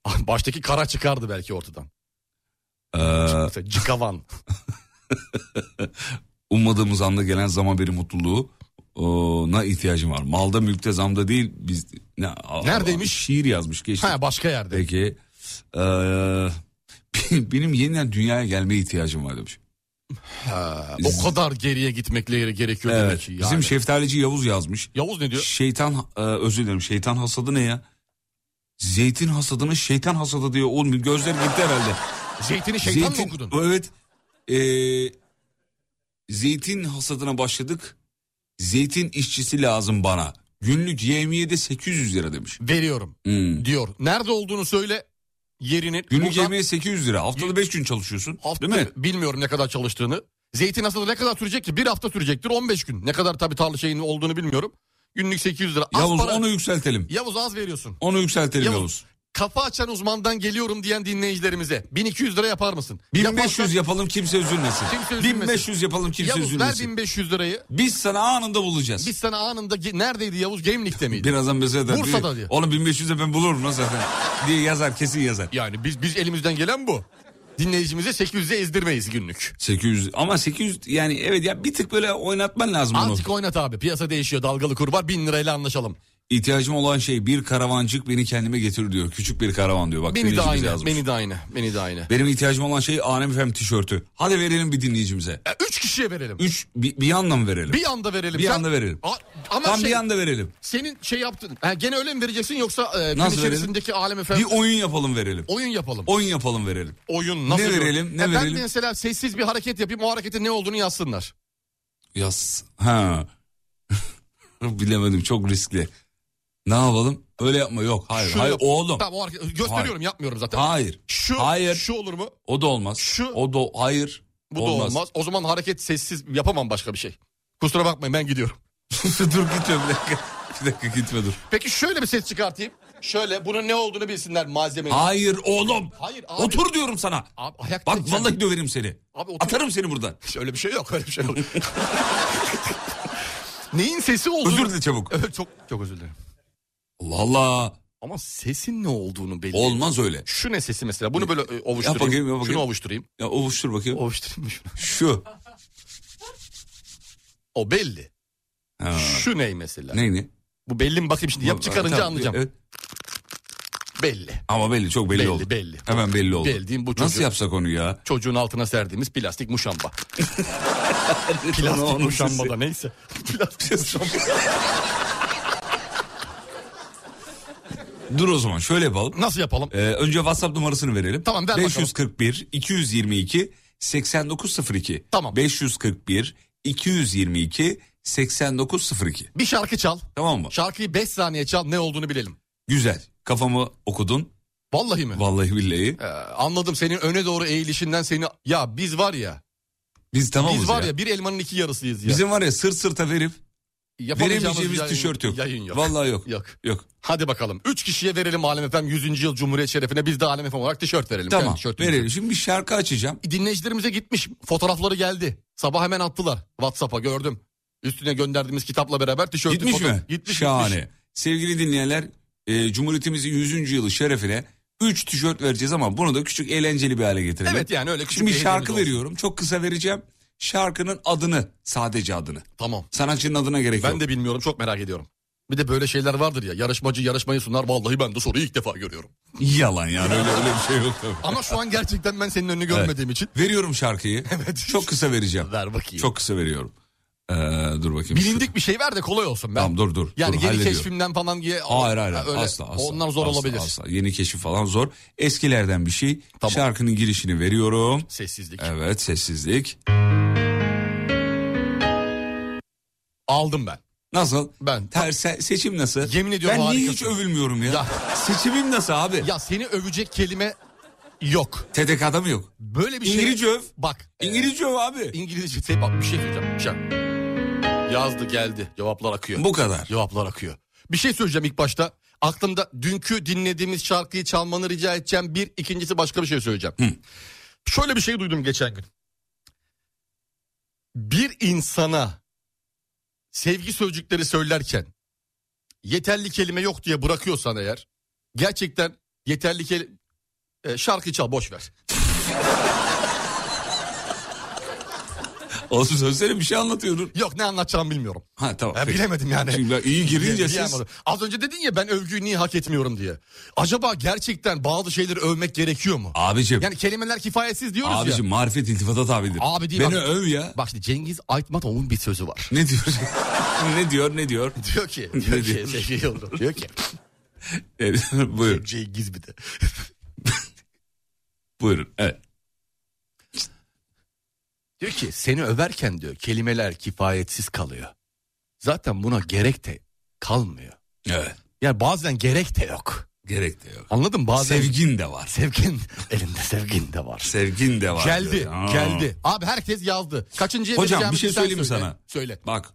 Ah, Baştaki kara çıkardı belki ortadan. Ee, Mesela cıkavan. ummadığımız anda gelen zam haberi mutluluğu e, na ihtiyacım var. Malda mülkte zamda değil biz ne, a- Neredeymiş? Şiir yazmış geçti. ha başka yerde. Peki. Ee, benim yeniden dünyaya gelmeye ihtiyacım var demiş. Ha, o kadar geriye gitmekleri gerekiyor demek Evet. ki. Bizim yani. şeftalici Yavuz yazmış. Yavuz ne diyor? Şeytan e, özür dilerim. Şeytan hasadı ne ya? Zeytin hasadını şeytan hasadı diyor. Oğlum gözler gitti herhalde. Zeytini şeytan zeytin, mı okudun? Evet. Ee, zeytin hasadına başladık. Zeytin işçisi lazım bana. Günlük yevmiye de 800 lira demiş. Veriyorum Hmm. diyor. Nerede olduğunu söyle yerini. Günlük Buradan yevmiye 800 lira. Haftada 5 gün çalışıyorsun. hafta, değil mi? Bilmiyorum ne kadar çalıştığını. Zeytin aslında ne kadar sürecek ki? Bir hafta sürecektir 15 gün. Ne kadar tabii tarla şeyinin olduğunu bilmiyorum. Günlük 800 lira. Az Yavuz para- onu yükseltelim. Yavuz az veriyorsun. Onu yükseltelim Yavuz, Yavuz. kafa açan uzmandan geliyorum diyen dinleyicilerimize 1200 lira yapar mısın? 1500 Yaparsan- yapalım kimse üzülmesin. Kimse üzülmesin. 1500 yapalım kimse Yavuz ver üzülmesin. 1500 lirayı. Biz sana anında bulacağız. Biz sana anında ge- neredeydi Yavuz? Gemlik'te miydi? Birazdan mesela der, Bursa'da diyor, diyor. Oğlum 1500'e ben bulurum lan zaten. diye yazar kesin yazar. Yani biz biz elimizden gelen bu. dinleyicimize 800'e ezdirmeyiz günlük. 800 ama 800 yani evet ya bir tık böyle oynatman lazım onu. Artık oynat abi piyasa değişiyor dalgalı kurbar 1000 lirayla anlaşalım. İhtiyacım olan şey bir karavancık beni kendime getir diyor. Küçük bir karavan diyor. Bak Beni de dinleyicimiz aynı yazmış. beni de aynı beni de aynı. Benim ihtiyacım olan şey Anem Efem tişörtü. Hadi verelim bir dinleyicimize. E, Üç kişiye verelim. Üç bir, bir anda mı verelim? Bir anda verelim. Bir anda verelim. A- ama Tam şey, bir anda verelim. senin şey yaptın. Ha, gene öyle mi vereceksin yoksa e, gün Nasıl verelim? içerisindeki alem efendim Bir oyun yapalım verelim. oyun yapalım. Oyun yapalım verelim. oyun nasıl? Ne bir oyun? verelim, ne Ya Ben verelim? mesela sessiz bir hareket yapayım o hareketin ne olduğunu yazsınlar. Yaz. Ha. Bilemedim çok riskli. Ne yapalım? Öyle yapma yok. Hayır. Şunu hayır yap- oğlum. Tamam o hareket gösteriyorum Hayır. yapmıyorum zaten. Hayır. Şu, Hayır. şu olur mu? O da olmaz. Şu- O da hayır. Bu da olmaz. O zaman hareket sessiz yapamam başka bir şey. Kusura bakmayın ben gidiyorum. dur gitme bir dakika. Bir dakika gitme dur. Peki şöyle bir ses çıkartayım. Şöyle bunun ne olduğunu bilsinler malzemeyi. Hayır oğlum. Hayır abi. Otur diyorum sana. Abi ayakta. Bak vallahi döverim seni. Abi otur. Atarım seni buradan. Öyle bir şey yok öyle bir şey yok. Neyin sesi olduğunu... Özür dile çabuk. Evet çok çok özür dilerim. Allah Allah. Ama sesin ne olduğunu belli. Olmaz öyle. Şu ne sesi mesela? Bunu böyle e, ovuşturayım. Yap bakayım, yap bakayım. Şunu ovuşturayım. Ya ovuştur bakayım. Ovuşturayım mı şunu? Şu. O belli. Ha. Şu ney mesela? Neydi? Bu belli mi bakayım şimdi. Yap çıkarınca Tamam, anlayacağım. evet. Belli. Ama belli çok belli, Eh. Belli, oldu. belli. Hemen belli oldu. Bildiğin bu Nasıl çocuk. yapsak onu ya? Çocuğun altına serdiğimiz plastik muşamba. Ona Plastik onun muşamba sesi. da neyse. Plastik muşamba. Dur o zaman şöyle yapalım. Nasıl yapalım? Ee, önce WhatsApp numarasını verelim. Tamam, ver bakalım. 541 222 8902. Tamam. 541 222 8902. Bir şarkı çal. Tamam mı? Şarkıyı 5 saniye çal ne olduğunu bilelim. Güzel. Kafamı okudun. Vallahi mi? Vallahi billahi. Ee, anladım senin öne doğru eğilişinden seni... Ya biz var ya. Biz tamamız Biz var ya. ya. bir elmanın iki yarısıyız ya. Bizim var ya sırt sırta verip Yapamayacağımız veremeyeceğimiz yayın- tişört yok. Yayın yok. Vallahi yok. Yok. Yok. Hadi bakalım. Üç kişiye verelim Alem Efem 100. yıl Cumhuriyet şerefine. Biz de Alem Efem olarak tişört verelim. Tamam. Kendi tişörtümüzü. E, Verelim. Şimdi bir şarkı açacağım. Dinleyicilerimize gitmiş. Fotoğrafları geldi. Sabah hemen attılar. Whatsapp'a gördüm. Üstüne gönderdiğimiz kitapla beraber tişörtü. Gitmiş foto- mi? Gitmiş. Şahane. gitmiş. Sevgili dinleyenler, e, Cumhuriyetimizin 100. yılı şerefine 3 tişört vereceğiz ama bunu da küçük eğlenceli bir hale getirelim. Evet yani öyle küçük Şimdi bir hediyemiz şarkı olsun. veriyorum. Çok kısa vereceğim. Şarkının adını, sadece adını. Tamam. Sanatçının adına gerek Ben yok. de bilmiyorum. Çok merak ediyorum. Bir de böyle şeyler vardır ya. Yarışmacı yarışmayı sunar. Vallahi ben de soruyu ilk defa görüyorum. Yalan yani öyle öyle bir şey yok tabii. Ama şu an gerçekten ben senin önünü görmediğim için. Veriyorum şarkıyı. Evet. Çok kısa vereceğim. Ver bakayım. Çok kısa veriyorum. Ee, dur bakayım. Bilindik bir şey ver de kolay olsun. Ben. Tamam dur dur. Yani dur, yeni hallediyorum. keşfimden falan diye. Hayır hayır Ha, hayır. öyle. asla asla. Onlar zor asla, olabilir. Asla. Yeni keşif falan zor. Eskilerden bir şey. Tamam. Şarkının girişini veriyorum. Sessizlik. Evet sessizlik. Aldım ben. Nasıl? Ben. Ter, se- seçim nasıl? Yemin ediyorum Ben niye hiç harikasın. övülmüyorum ya? Ya. Seçimim nasıl abi? Ya seni övecek kelime yok. TDK'da mı yok? Böyle bir şey... İngilizce öv. Bak. e, İngilizce öv abi. İngilizce. Şey, bak bir şey söyleyeceğim. Bir şey. Yazdı geldi. Cevaplar akıyor. Bu kadar. Cevaplar akıyor. Bir şey söyleyeceğim ilk başta. Aklımda dünkü dinlediğimiz şarkıyı çalmanı rica edeceğim. Bir, ikincisi başka bir şey söyleyeceğim. Şöyle bir şey duydum geçen gün. Bir insana sevgi sözcükleri söylerken yeterli kelime yok diye bırakıyorsan eğer gerçekten yeterli kelime şarkı E, çal boş ver. Olsun sözlerim bir şey anlatıyordun. Yok ne anlatacağımı bilmiyorum. Ha tamam. Ha, peki. bilemedim yani. Şimdi ben iyi girince siz Diyemedim. Az önce dedin ya ben övgüyü niye hak etmiyorum diye. Acaba gerçekten bazı şeyleri övmek gerekiyor mu? Abicim. Yani kelimeler kifayetsiz diyoruz abicim ya. marifet iltifata tabidir. Abi değil, Beni bak- öv ya. Bak şimdi Cengiz Aytmatov'un bir sözü var. Ne diyor? ne diyor? Ne diyor? Diyor ki, Ne diyor ki, diyor? sevgili Yıldırım, diyor ki, Evet, buyurun. Şey, Cengiz bir de. Buyurun. Evet. Diyor ki seni överken diyor kelimeler kifayetsiz kalıyor. Zaten buna gerek de kalmıyor. Evet. Yani bazen gerek de yok. Gerek de yok. Anladın mı? Bazen Sevgin de var. sevgin elinde sevgin de var. Sevgin de var. Geldi, diyor. Aa. geldi. Abi herkes yazdı. Kaçıncıya Hocam bir vereceğimizi şey sen söyleyeyim mi söyle. sana? Söyle. Bak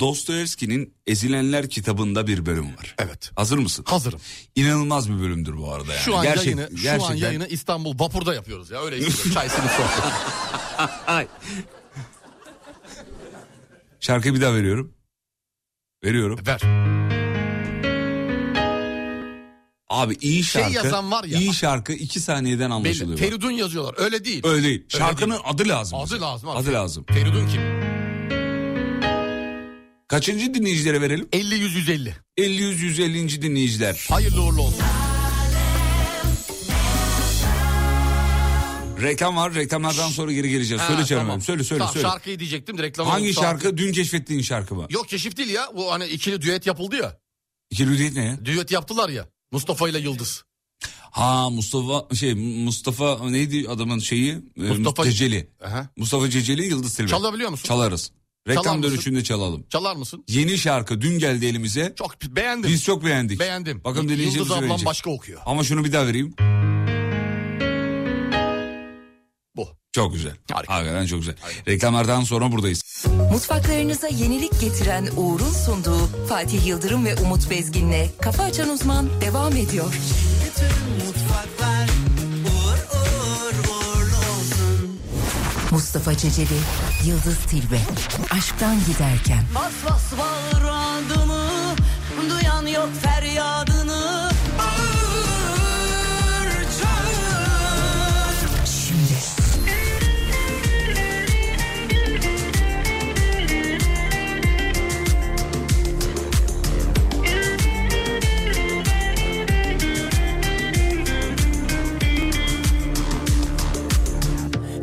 Dostoyevski'nin Ezilenler kitabında bir bölüm var. Evet. Hazır mısın? Hazırım. İnanılmaz bir bölümdür bu arada yani. Şu an Gerçek- yayını, şu an gerçekten- yayını İstanbul vapurda yapıyoruz ya. Öyle istiyorum. Çaysını sohbet. Şarkıyı bir daha veriyorum. Veriyorum. Ver. Abi iyi Şey şarkı, yazan var ya. iyi şarkı iki saniyeden Belli. anlaşılıyor. Feridun yazıyorlar. Öyle değil. Öyle değil. Öyle Şarkının değil. adı lazım. Adı bize. lazım abi. Adı lazım. Feridun kim? Kaçıncı dinleyicilere verelim? 50 100 150. 50 100 150. dinleyiciler. Hayırlı uğurlu olsun. Reklam var. Reklamlardan sonra geri geleceğiz. söyle Ha, Cem tamam. abi, Söyle söyle Tamam, söyle. Şarkıyı diyecektim de reklamı. Hangi unuttum. şarkı? Dün keşfettiğin şarkı mı? Yok keşif değil ya. Bu hani ikili düet yapıldı ya. İkili değil ne ya? Düet yaptılar ya. Mustafa ile Yıldız. Ha Mustafa şey Mustafa neydi adamın şeyi? Mustafa Mustafa- Ceceli. Aha. Mustafa Ceceli Yıldız Tilbe. Çalabiliyor musun? Çalarız. Reklam Çalar mısın? dönüşünde çalalım. Çalar mısın? Yeni şarkı dün geldi elimize. Çok beğendim. Biz çok beğendik. Beğendim. Bakın dinleyicilerimiz Yıldız ablam beğenecek. başka okuyor. Ama şunu bir daha vereyim. Bu. Çok güzel. Harika. Hakikaten çok güzel. Reklamlardan sonra buradayız. Mutfaklarınıza yenilik getiren Uğur'un sunduğu Fatih Yıldırım ve Umut Bezgin'le Kafa Açan Uzman devam ediyor. Mustafa Ceceli, Yıldız Tilbe. Aşktan giderken. Bas bas bal randımı Duyan yok feryadını Bağır çağır Şimdi.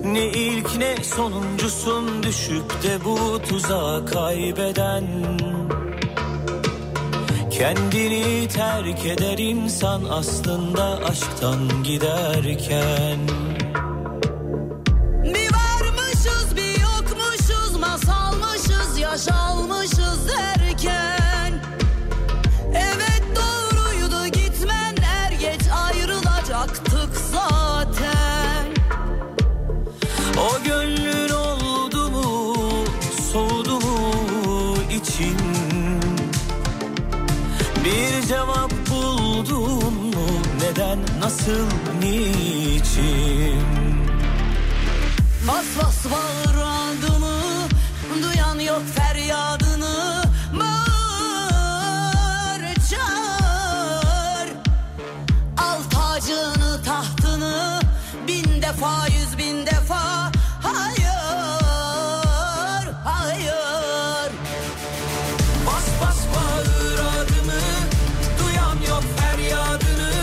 Ne ilk ne sonuncusun düşüp de bu tuzağa kaybeden Kendini terk eder insan aslında aşktan giderken Bir varmışız bir yokmuşuz Masalmışız yaşalmışız derken Evet doğruydu gitmen Er geç ayrılacaktık zaten O gönlün oldu mu soğudu mu için Bir cevap buldun mu neden nasıl niçin Bas bas bağır adımı Duyan yok feryadını Bağır çağır Al tacını tahtını Bin defa yüz bin defa Hayır Hayır Bas bas bağır adını Duyan yok feryadını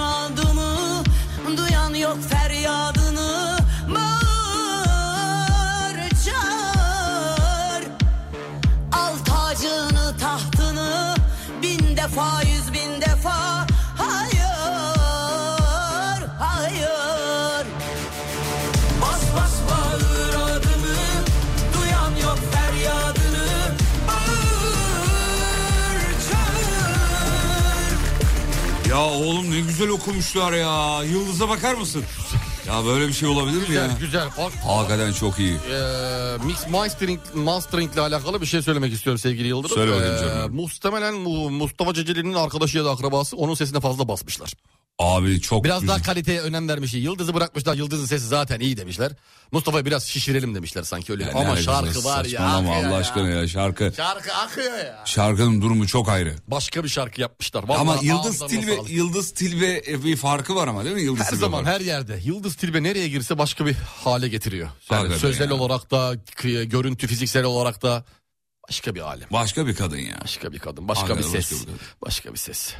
adımı duyan yok feryadını bağır çağır. Al tacını tahtını bin defa yüz bin defa hayır hayır. Bas bas bağır adını Duyan yok feryadını Bağır çağır Ya oğlum ne güzel okumuşlar ya. Yıldız'a bakar mısın? Ya böyle bir şey olabilir mi Güzel ya? güzel. Bak, Hakikaten çok iyi. Ee, mix mastering, mastering ile alakalı bir şey söylemek istiyorum sevgili Yıldırım. E, Söyle bakayım canım. Muhtemelen Mu- Mustafa Ceceli'nin arkadaşı ya da akrabası onun sesine fazla basmışlar. Abi çok Biraz daha müzik- kaliteye önem vermişler. Yıldız'ı bırakmışlar. Yıldız'ın sesi zaten iyi demişler. Mustafa'yı biraz şişirelim demişler sanki öyle. Ya ne Ama alakası şarkı var ya. saçmalama akıyor Allah ya. aşkına ya şarkı. Şarkı akıyor ya. Şarkının durumu çok ayrı. Başka bir şarkı yapmışlar. ama Vallahi Yıldız ağızlarına Tilbe sağlık. Yıldız Tilbe e, bir farkı var ama değil mi Yıldız her Tilbe zaman var. her yerde Yıldız Tilbe nereye girse başka bir hale getiriyor. Yani Hakikaten sözel ya. olarak da, kı- görüntü fiziksel olarak da başka bir alem. Başka bir kadın ya. Başka bir kadın, başka Hakikaten bir ses. başka bir kadın. başka bir ses.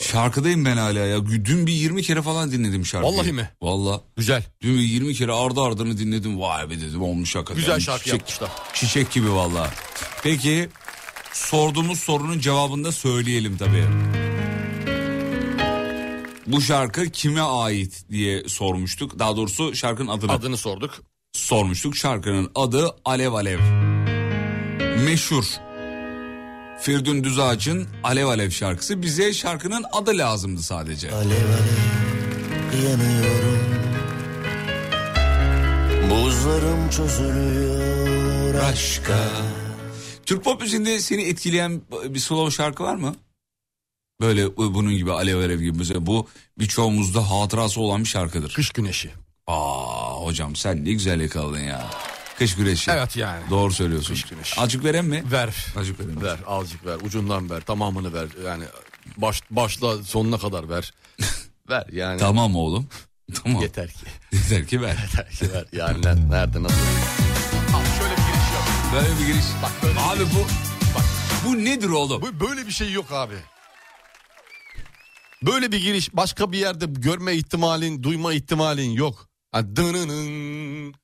Şarkıdayım ben hala ya. Dün bir 20 kere falan dinledim şarkıyı. Vallahi mi? Vallahi. Güzel. Dün bir 20 kere ardı ardını dinledim. Vay be dedim olmuş hakikaten. Güzel şarkı çiçek, yapmışlar. Çiçek gibi vallahi. Peki sorduğumuz sorunun cevabını da söyleyelim tabii. Bu şarkı kime ait diye sormuştuk. Daha doğrusu şarkının adını Adını sorduk. sormuştuk. Şarkının adı Alev Alev. Meşhur. Firdun Düzağaç'ın Alev Alev şarkısı. Bize şarkının adı lazımdı sadece. Alev alev yanıyorum Buzlarım çözülüyor aşka Türk pop müziğinde seni etkileyen bir slow şarkı var mı? Böyle e, bunun gibi Alev Alev gibi. Mesela bu birçoğumuzda hatırası olan bir şarkıdır. Kış güneşi. Aa hocam sen ne güzel yakaladın ya. Kış güreşi. Evet yani. Şey. Doğru söylüyorsun. Kış güreşi. Açık veren mi? Ver. Açık veren. Ver azıcık ver ucundan ver tamamını ver yani baş, başla sonuna kadar ver. ver yani Tamam oğlum. Tamam. Yeter, yeter ki. ki ver. Yeter ki ver yani ne- nerede nasıl. Böyle bir giriş. Bak böyle, Abi bu bu nedir oğlum? bu- böyle bir şey yok abi. Böyle bir giriş başka bir yerde görme ihtimalin duyma ihtimalin yok. Yani dınının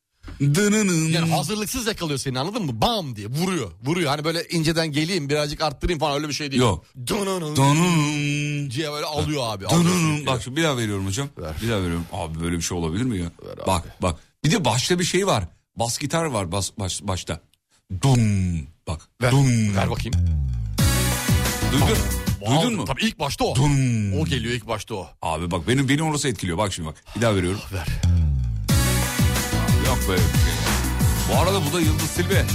Dınının. Yani hazırlıksız yakalıyor seni anladın mı? Bam diye vuruyor. Vuruyor. Hani böyle inceden geleyim birazcık arttırayım falan öyle bir şey değil. Yok. Dınının Dınının. diye böyle alıyor abi. alıyor Dınının. seni. Bak şimdi bir daha veriyorum hocam. Ver. Bir daha veriyorum. Abi böyle bir şey olabilir mi ya? Ver abi. bak bak. Bir de başta bir şey var. Bas gitar var bas, baş, başta. Dun. Bak. Ver, Dun. ver bakayım. Duydun. Duydun Al, mu? Tabii ilk başta o. Dun. O geliyor ilk başta o. Ah, Abi bak benim beni orası etkiliyor. Bak şimdi bak. Bir daha veriyorum. Ver. Yok be. Bu arada bu da Yıldız Silbe.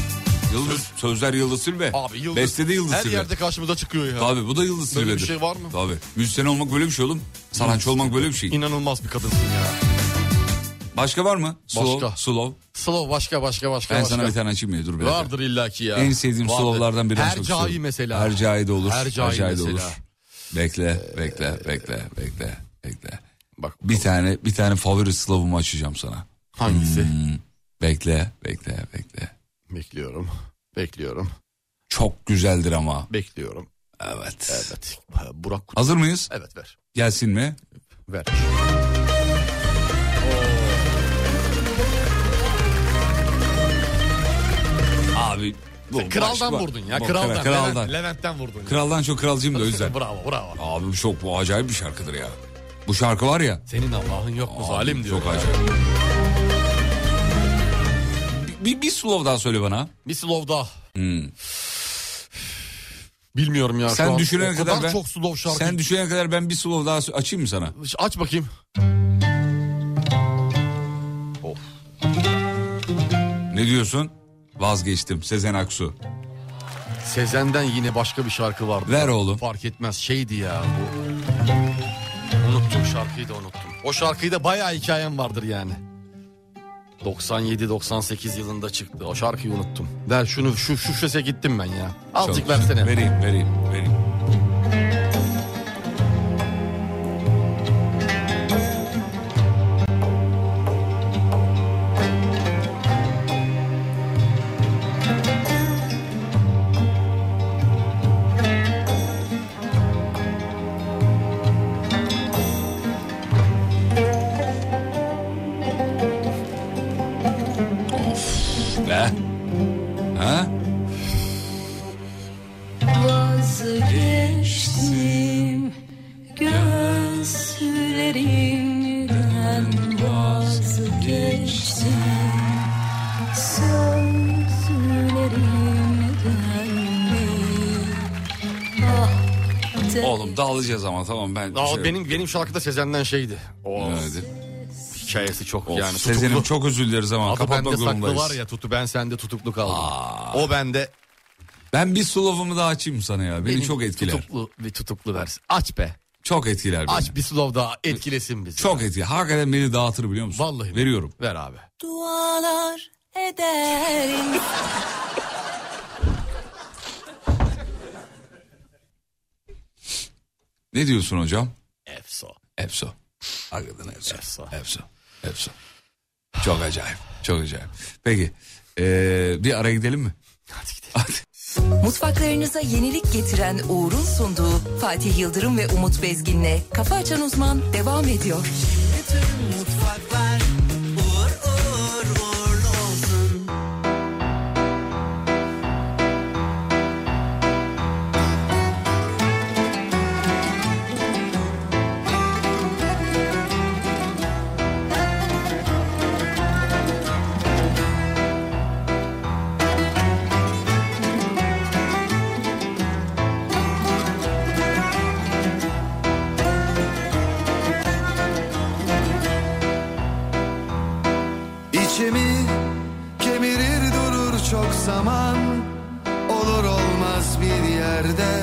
Yıldız sözler Yıldız Silbe. Abi Yıldız. Beste de Yıldız Her Silbe. yerde karşımıza çıkıyor ya. Tabii bu da Yıldız Böyle bir Silbe'dir. şey var mı? Tabii. Müzisyen olmak böyle bir şey oğlum. Sanatçı olmak böyle bir şey. İnanılmaz bir kadınsın ya. Başka var mı? Slow. Başka. Slow. Slow başka başka başka Ben başka. sana bir tane açayım ya dur bir dakika. Vardır illaki ya. En sevdiğim Vardır. slowlardan birini Her çok cai istiyorum. mesela. Her cai de olur. Her cai de mesela. Bekle, bekle, bekle, bekle, bekle. Bak Bir tane, bir tane favori slow'umu açacağım sana. Hmm. hangisi? Bekle, bekle, bekle. Bekliyorum. Bekliyorum. Çok güzeldir ama. Bekliyorum. Evet. Evet. Ha, Burak Kut- Hazır mıyız? Evet ver. Gelsin mi? Ver. Abi. bu Kraldan başka- vurdun ya. Bu Kraldan. Kraldan. Levent- Levent'ten vurdun. ya. Kraldan çok kralcıyım da o yüzden. bravo bravo. Abi bu çok bu acayip bir şarkıdır ya. Bu şarkı var ya. Senin Allah'ın yok mu Abi, zalim diyor. Çok ya. acayip. Bir, bir, bir slow daha söyle bana. Bir slow daha. Hmm. Bilmiyorum ya. şu Sen an düşünene o kadar, ben çok slow şarkı. Sen düşünene kadar ben bir slow daha sö- açayım mı sana? Aç bakayım. Ne diyorsun? Vazgeçtim Sezen Aksu. Sezen'den yine başka bir şarkı vardı. Ver oğlum. Fark etmez şeydi ya bu. Unuttum şarkıyı da unuttum. O şarkıyı da bayağı hikayem vardır yani. 97-98 yılında çıktı. O şarkıyı unuttum. Ver şunu şu şu sese gittim ben ya. Azıcık Çalış. versene. Vereyim vereyim vereyim. Be. Ha? Vazgeçtim gözlerimden vazgeçtim sözlerimden Ah. Oğlum dağılacağız ama tamam ben. Aa, şey- benim benim şarkı da Sezen'den şeydi. O Evet. hikayesi çok Of, yani. Sezen'im tutuklu. çok özür dileriz ama Adı kapatmak bende saklı zorundayız. var ya tutu ben sende tutuklu kaldım. O bende Ben bir slow'umu daha açayım sana ya. Beni Benim çok etkiler. Tutuklu bir tutuklu vers. Aç be. Çok etkiler beni. Aç bir slow daha etkilesin bizi. Çok etki. Hakikaten beni dağıtır biliyor musun? Vallahi. Veriyorum. Ver abi. Dualar ederim. Ne diyorsun hocam? Efso. Efso. Hakikaten Efso. Efso. Efso. Efso. Çok acayip. Çok acayip. Peki. ee, bir ara gidelim mi? Hadi gidelim. Hadi. Mutfaklarınıza yenilik getiren Uğur'un sunduğu Fatih Yıldırım ve Umut Bezgin'le Kafa Açan Uzman devam ediyor. İçimi kemirir durur çok zaman Olur olmaz bir yerde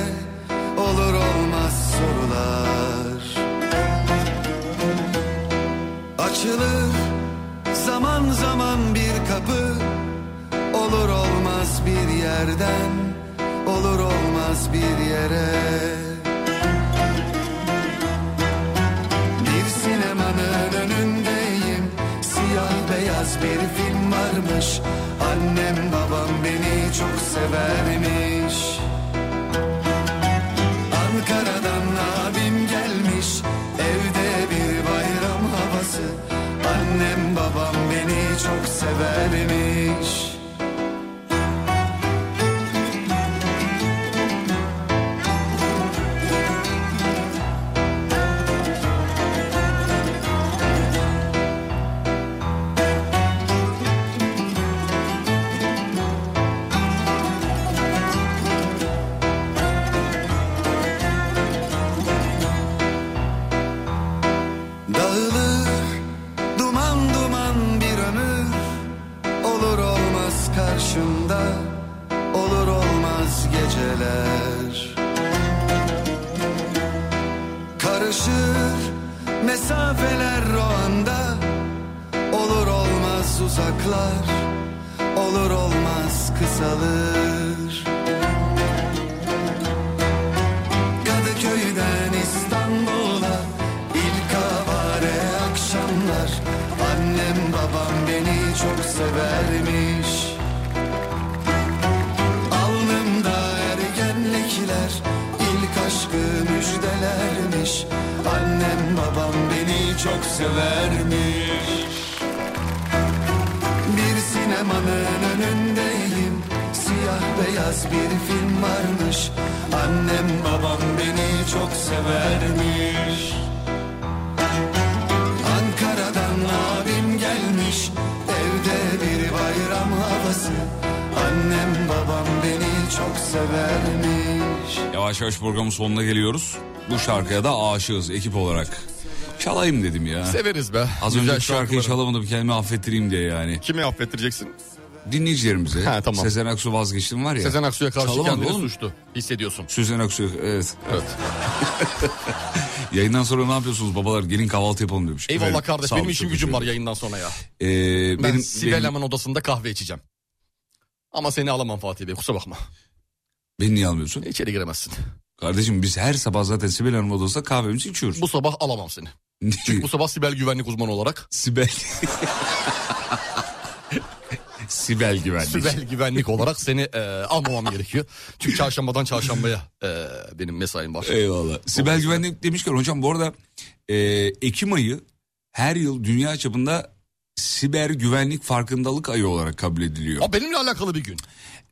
Olur olmaz sorular Açılır zaman zaman bir kapı Olur olmaz bir yerden Olur olmaz bir yere Bir sinemanın önündeyim Siyah beyaz bir film varmış Annem babam beni çok severmiş Ankara'dan abim gelmiş Evde bir bayram havası Annem babam beni çok severmiş Dağılır duman duman bir ömür Olur olmaz karşımda Olur olmaz geceler Karışır mesafeler o anda Olur olmaz uzaklar Olur olmaz kısalır Kadıköy'den İstanbul'a ilk avare akşamlar Annem babam beni çok severmiş Alnımda ergenlikler ilk aşkı müjdelermiş Annem babam beni çok severmiş bir sinemanın önündeyim Siyah beyaz bir film varmış Annem babam beni çok severmiş Ankara'dan abim gelmiş Evde bir bayram havası Annem babam beni çok severmiş Yavaş yavaş programın sonuna geliyoruz. Bu şarkıya da aşığız ekip olarak. Çalayım dedim ya. Severiz be. Az Güzel önce şarkıyı şarkıları. çalamadım kendimi affettireyim diye yani. Kime affettireceksin? Dinleyicilerimize. Ha, tamam. Sezen Aksu vazgeçtim var ya. Sezen Aksu'ya karşı Çalamadı kendini oğlum. suçlu hissediyorsun. Sezen Aksu evet. Evet. Yayından sonra ne yapıyorsunuz babalar gelin kahvaltı yapalım demiş. Eyvallah Efendim, kardeş sağ olun, benim işim çok gücüm var teşekkür yayından sonra ya. ederim. Ee, Ben benim, Sibel benim- Hanım'ın odasında kahve içeceğim. Ama seni alamam Fatih Bey kusura bakma. beni niye almıyorsun? İçeri giremezsin. Kardeşim biz her sabah zaten Sibel Hanım odasında kahvemizi içiyoruz. Bu sabah alamam seni. Çünkü bu sabah Sibel güvenlik uzmanı olarak. Sibel. Sibel güvenlik. Sibel güvenlik olarak seni e, almamam gerekiyor. Çünkü çarşambadan çarşambaya e, benim mesaim var. Eyvallah. Sibel Güvenlik demişken hocam bu arada e, Ekim ayı her yıl dünya çapında siber güvenlik farkındalık ayı olarak kabul ediliyor. Aa, benimle alakalı bir gün.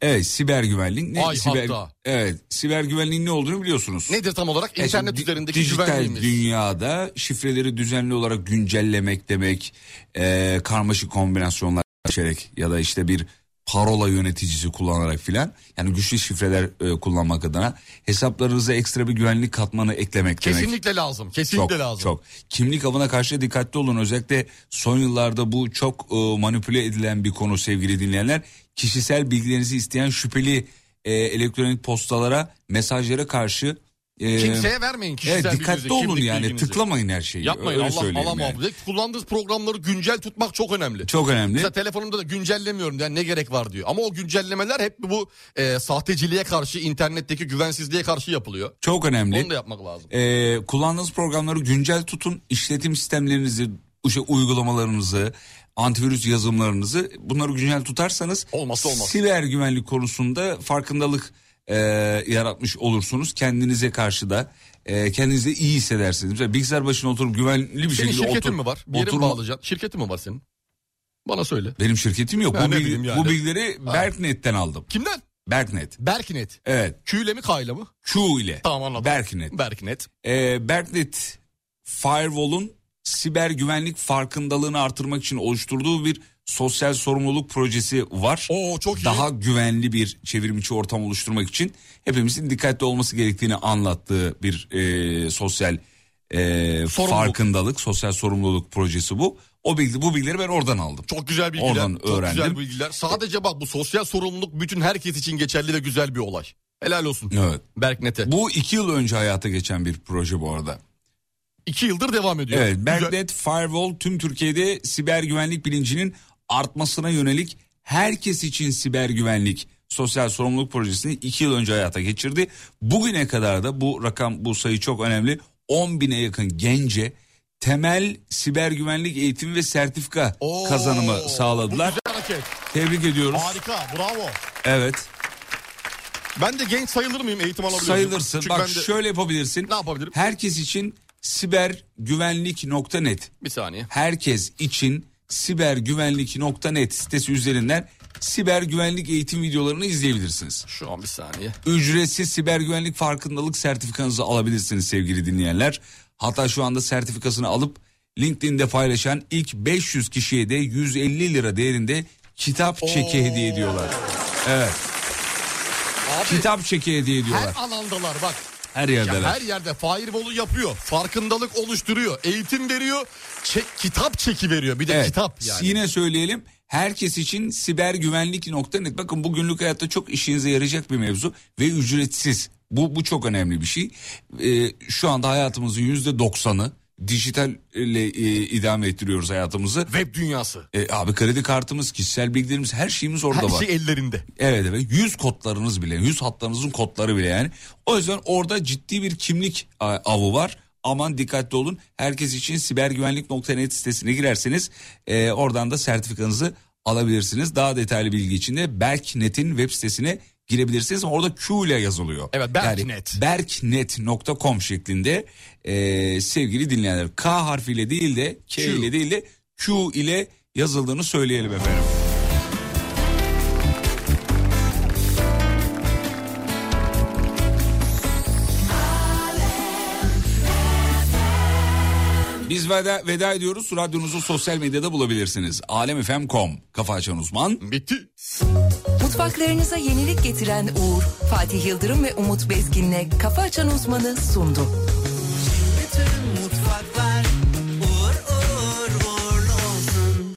Evet siber güvenlik ne? Ay siber, hatta. Evet siber güvenliğin ne olduğunu biliyorsunuz. Nedir tam olarak? Evet, İnternet E, di- üzerindeki dijital güvenliğimiz. dünyada şifreleri düzenli olarak güncellemek demek, e, karmaşık kombinasyonlar içerek ya da işte bir parola yöneticisi kullanarak filan yani güçlü şifreler e, kullanmak adına hesaplarınıza ekstra bir güvenlik katmanı eklemek demek. Kesinlikle lazım. Kesinlikle lazım. Çok. Kimlik avına karşı dikkatli olun. Özellikle son yıllarda bu çok e, manipüle edilen bir konu sevgili dinleyenler. Kişisel bilgilerinizi isteyen şüpheli e, elektronik postalara, mesajlara karşı e, Kimseye vermeyin kişisel evet, dikkatli bilginizi, olun kimlik yani bilginizi. tıklamayın her şeyi. Yapmayın Öyle Allah söyleyeyim Allah yani. muhafaza. Kullandığınız programları güncel tutmak çok önemli. Çok önemli. Mesela telefonumda da güncellemiyorum yani ne gerek var diyor. Ama o güncellemeler hep bu e, sahteciliğe karşı, internetteki güvensizliğe karşı yapılıyor. Çok önemli. Onu da yapmak lazım. Ee, kullandığınız programları güncel tutun. İşletim sistemlerinizi, işte uygulamalarınızı, antivirüs yazılımlarınızı bunları güncel tutarsanız Olmazsa olmaz. siber güvenlik konusunda farkındalık e, yaratmış olursunuz. Kendinize karşı da e, kendinizi iyi hissedersiniz. Mesela bilgisayar başına oturup güvenli bir Senin şekilde şirketin otur- mi var? Bir yere mi oturma- bağlayacaksın? Şirketin mi var senin? Bana söyle. Benim şirketim yok. Ben bu, ne bilgi- bileyim yani. bu bilgileri Berknet'ten aldım. Kimden? Berknet. Berknet. Evet. Q ile mi K ile mi? Q ile. Tamam anladım. Berknet. Berknet. Ee, Berknet Firewall'un siber güvenlik farkındalığını artırmak için oluşturduğu bir sosyal sorumluluk projesi var. Oo çok iyi. Daha güvenli bir çevrimiçi ortam oluşturmak için hepimizin dikkatli olması gerektiğini anlattığı bir e, sosyal e, farkındalık, sosyal sorumluluk projesi bu. O bilgi, bu bilgileri ben oradan aldım. Çok güzel bilgiler. Oradan çok güzel öğrendim. bilgiler. Sadece bak bu sosyal sorumluluk bütün herkes için geçerli ve güzel bir olay. Helal olsun. Evet. Berknet'e. Bu iki yıl önce hayata geçen bir proje bu arada. İki yıldır devam ediyor. Evet, Güzel. Berknet Firewall tüm Türkiye'de siber güvenlik bilincinin artmasına yönelik herkes için siber güvenlik sosyal sorumluluk projesini iki yıl önce hayata geçirdi. Bugüne kadar da bu rakam bu sayı çok önemli 10 bine yakın gence temel siber güvenlik eğitimi ve sertifika Oo, kazanımı Bu sağladılar. güzel hareket. Tebrik ediyoruz. Harika. Bravo. Evet Ben de genç sayılır mıyım eğitim alabiliyor muyum? sayılırsın. Çünkü Bak ben de- şöyle yapabilirsin. Ne yapabilirim? Herkes için sibergüvenlik.net Bir saniye. herkes için sibergüvenlik.net sitesi üzerinden siber güvenlik eğitim videolarını izleyebilirsiniz. Şu an bir saniye. Ücretsiz siber güvenlik farkındalık sertifikanızı alabilirsiniz sevgili dinleyenler. Hatta şu anda sertifikasını alıp LinkedIn'de paylaşan ilk 500 kişiye de 150 lira değerinde kitap çeki hediye ediyorlar. Evet, Abi kitap çeki hediye ediyorlar. her alandalar bak. Her Ya yerdeler. her yerde firewall'u yapıyor. Farkındalık oluşturuyor. Eğitim veriyor. Çek, kitap çeki veriyor. Bir de Evet. kitap yani. Yine söyleyelim. Herkes için siber güvenlik nokta net. Bakın bu günlük hayatta çok işinize yarayacak bir mevzu ve ücretsiz. Bu bu çok önemli bir şey. Ee, şu anda hayatımızın yüzde doksanı dijitalle e, idame ettiriyoruz hayatımızı. Web dünyası. E, abi kredi kartımız, kişisel bilgilerimiz, her şeyimiz orada Her var. şey ellerinde. Evet evet yüz kodlarınız bile yüz hatlarınızın kodları bile yani. O yüzden orada ciddi bir kimlik e, avı var. Aman dikkatli olun. Herkes için sibergüvenlik.net sitesine girerseniz e, oradan da sertifikanızı alabilirsiniz. Daha detaylı bilgi için de Berknet'in web sitesine girebilirsiniz. Ama Orada Q ile yazılıyor. Evet, Berknet. Yani berknet.com şeklinde e, sevgili dinleyenler K harfiyle değil de K Q. ile değil de Q ile yazıldığını söyleyelim efendim. Biz veda, veda ediyoruz. Radyonuzu sosyal medyada bulabilirsiniz. Alemfm.com Kafa Açan Uzman. Bitti. Mutfaklarınıza yenilik getiren Uğur, Fatih Yıldırım ve Umut Bezgin'le Kafa Açan Uzman'ı sundu. Bütün mutfaklar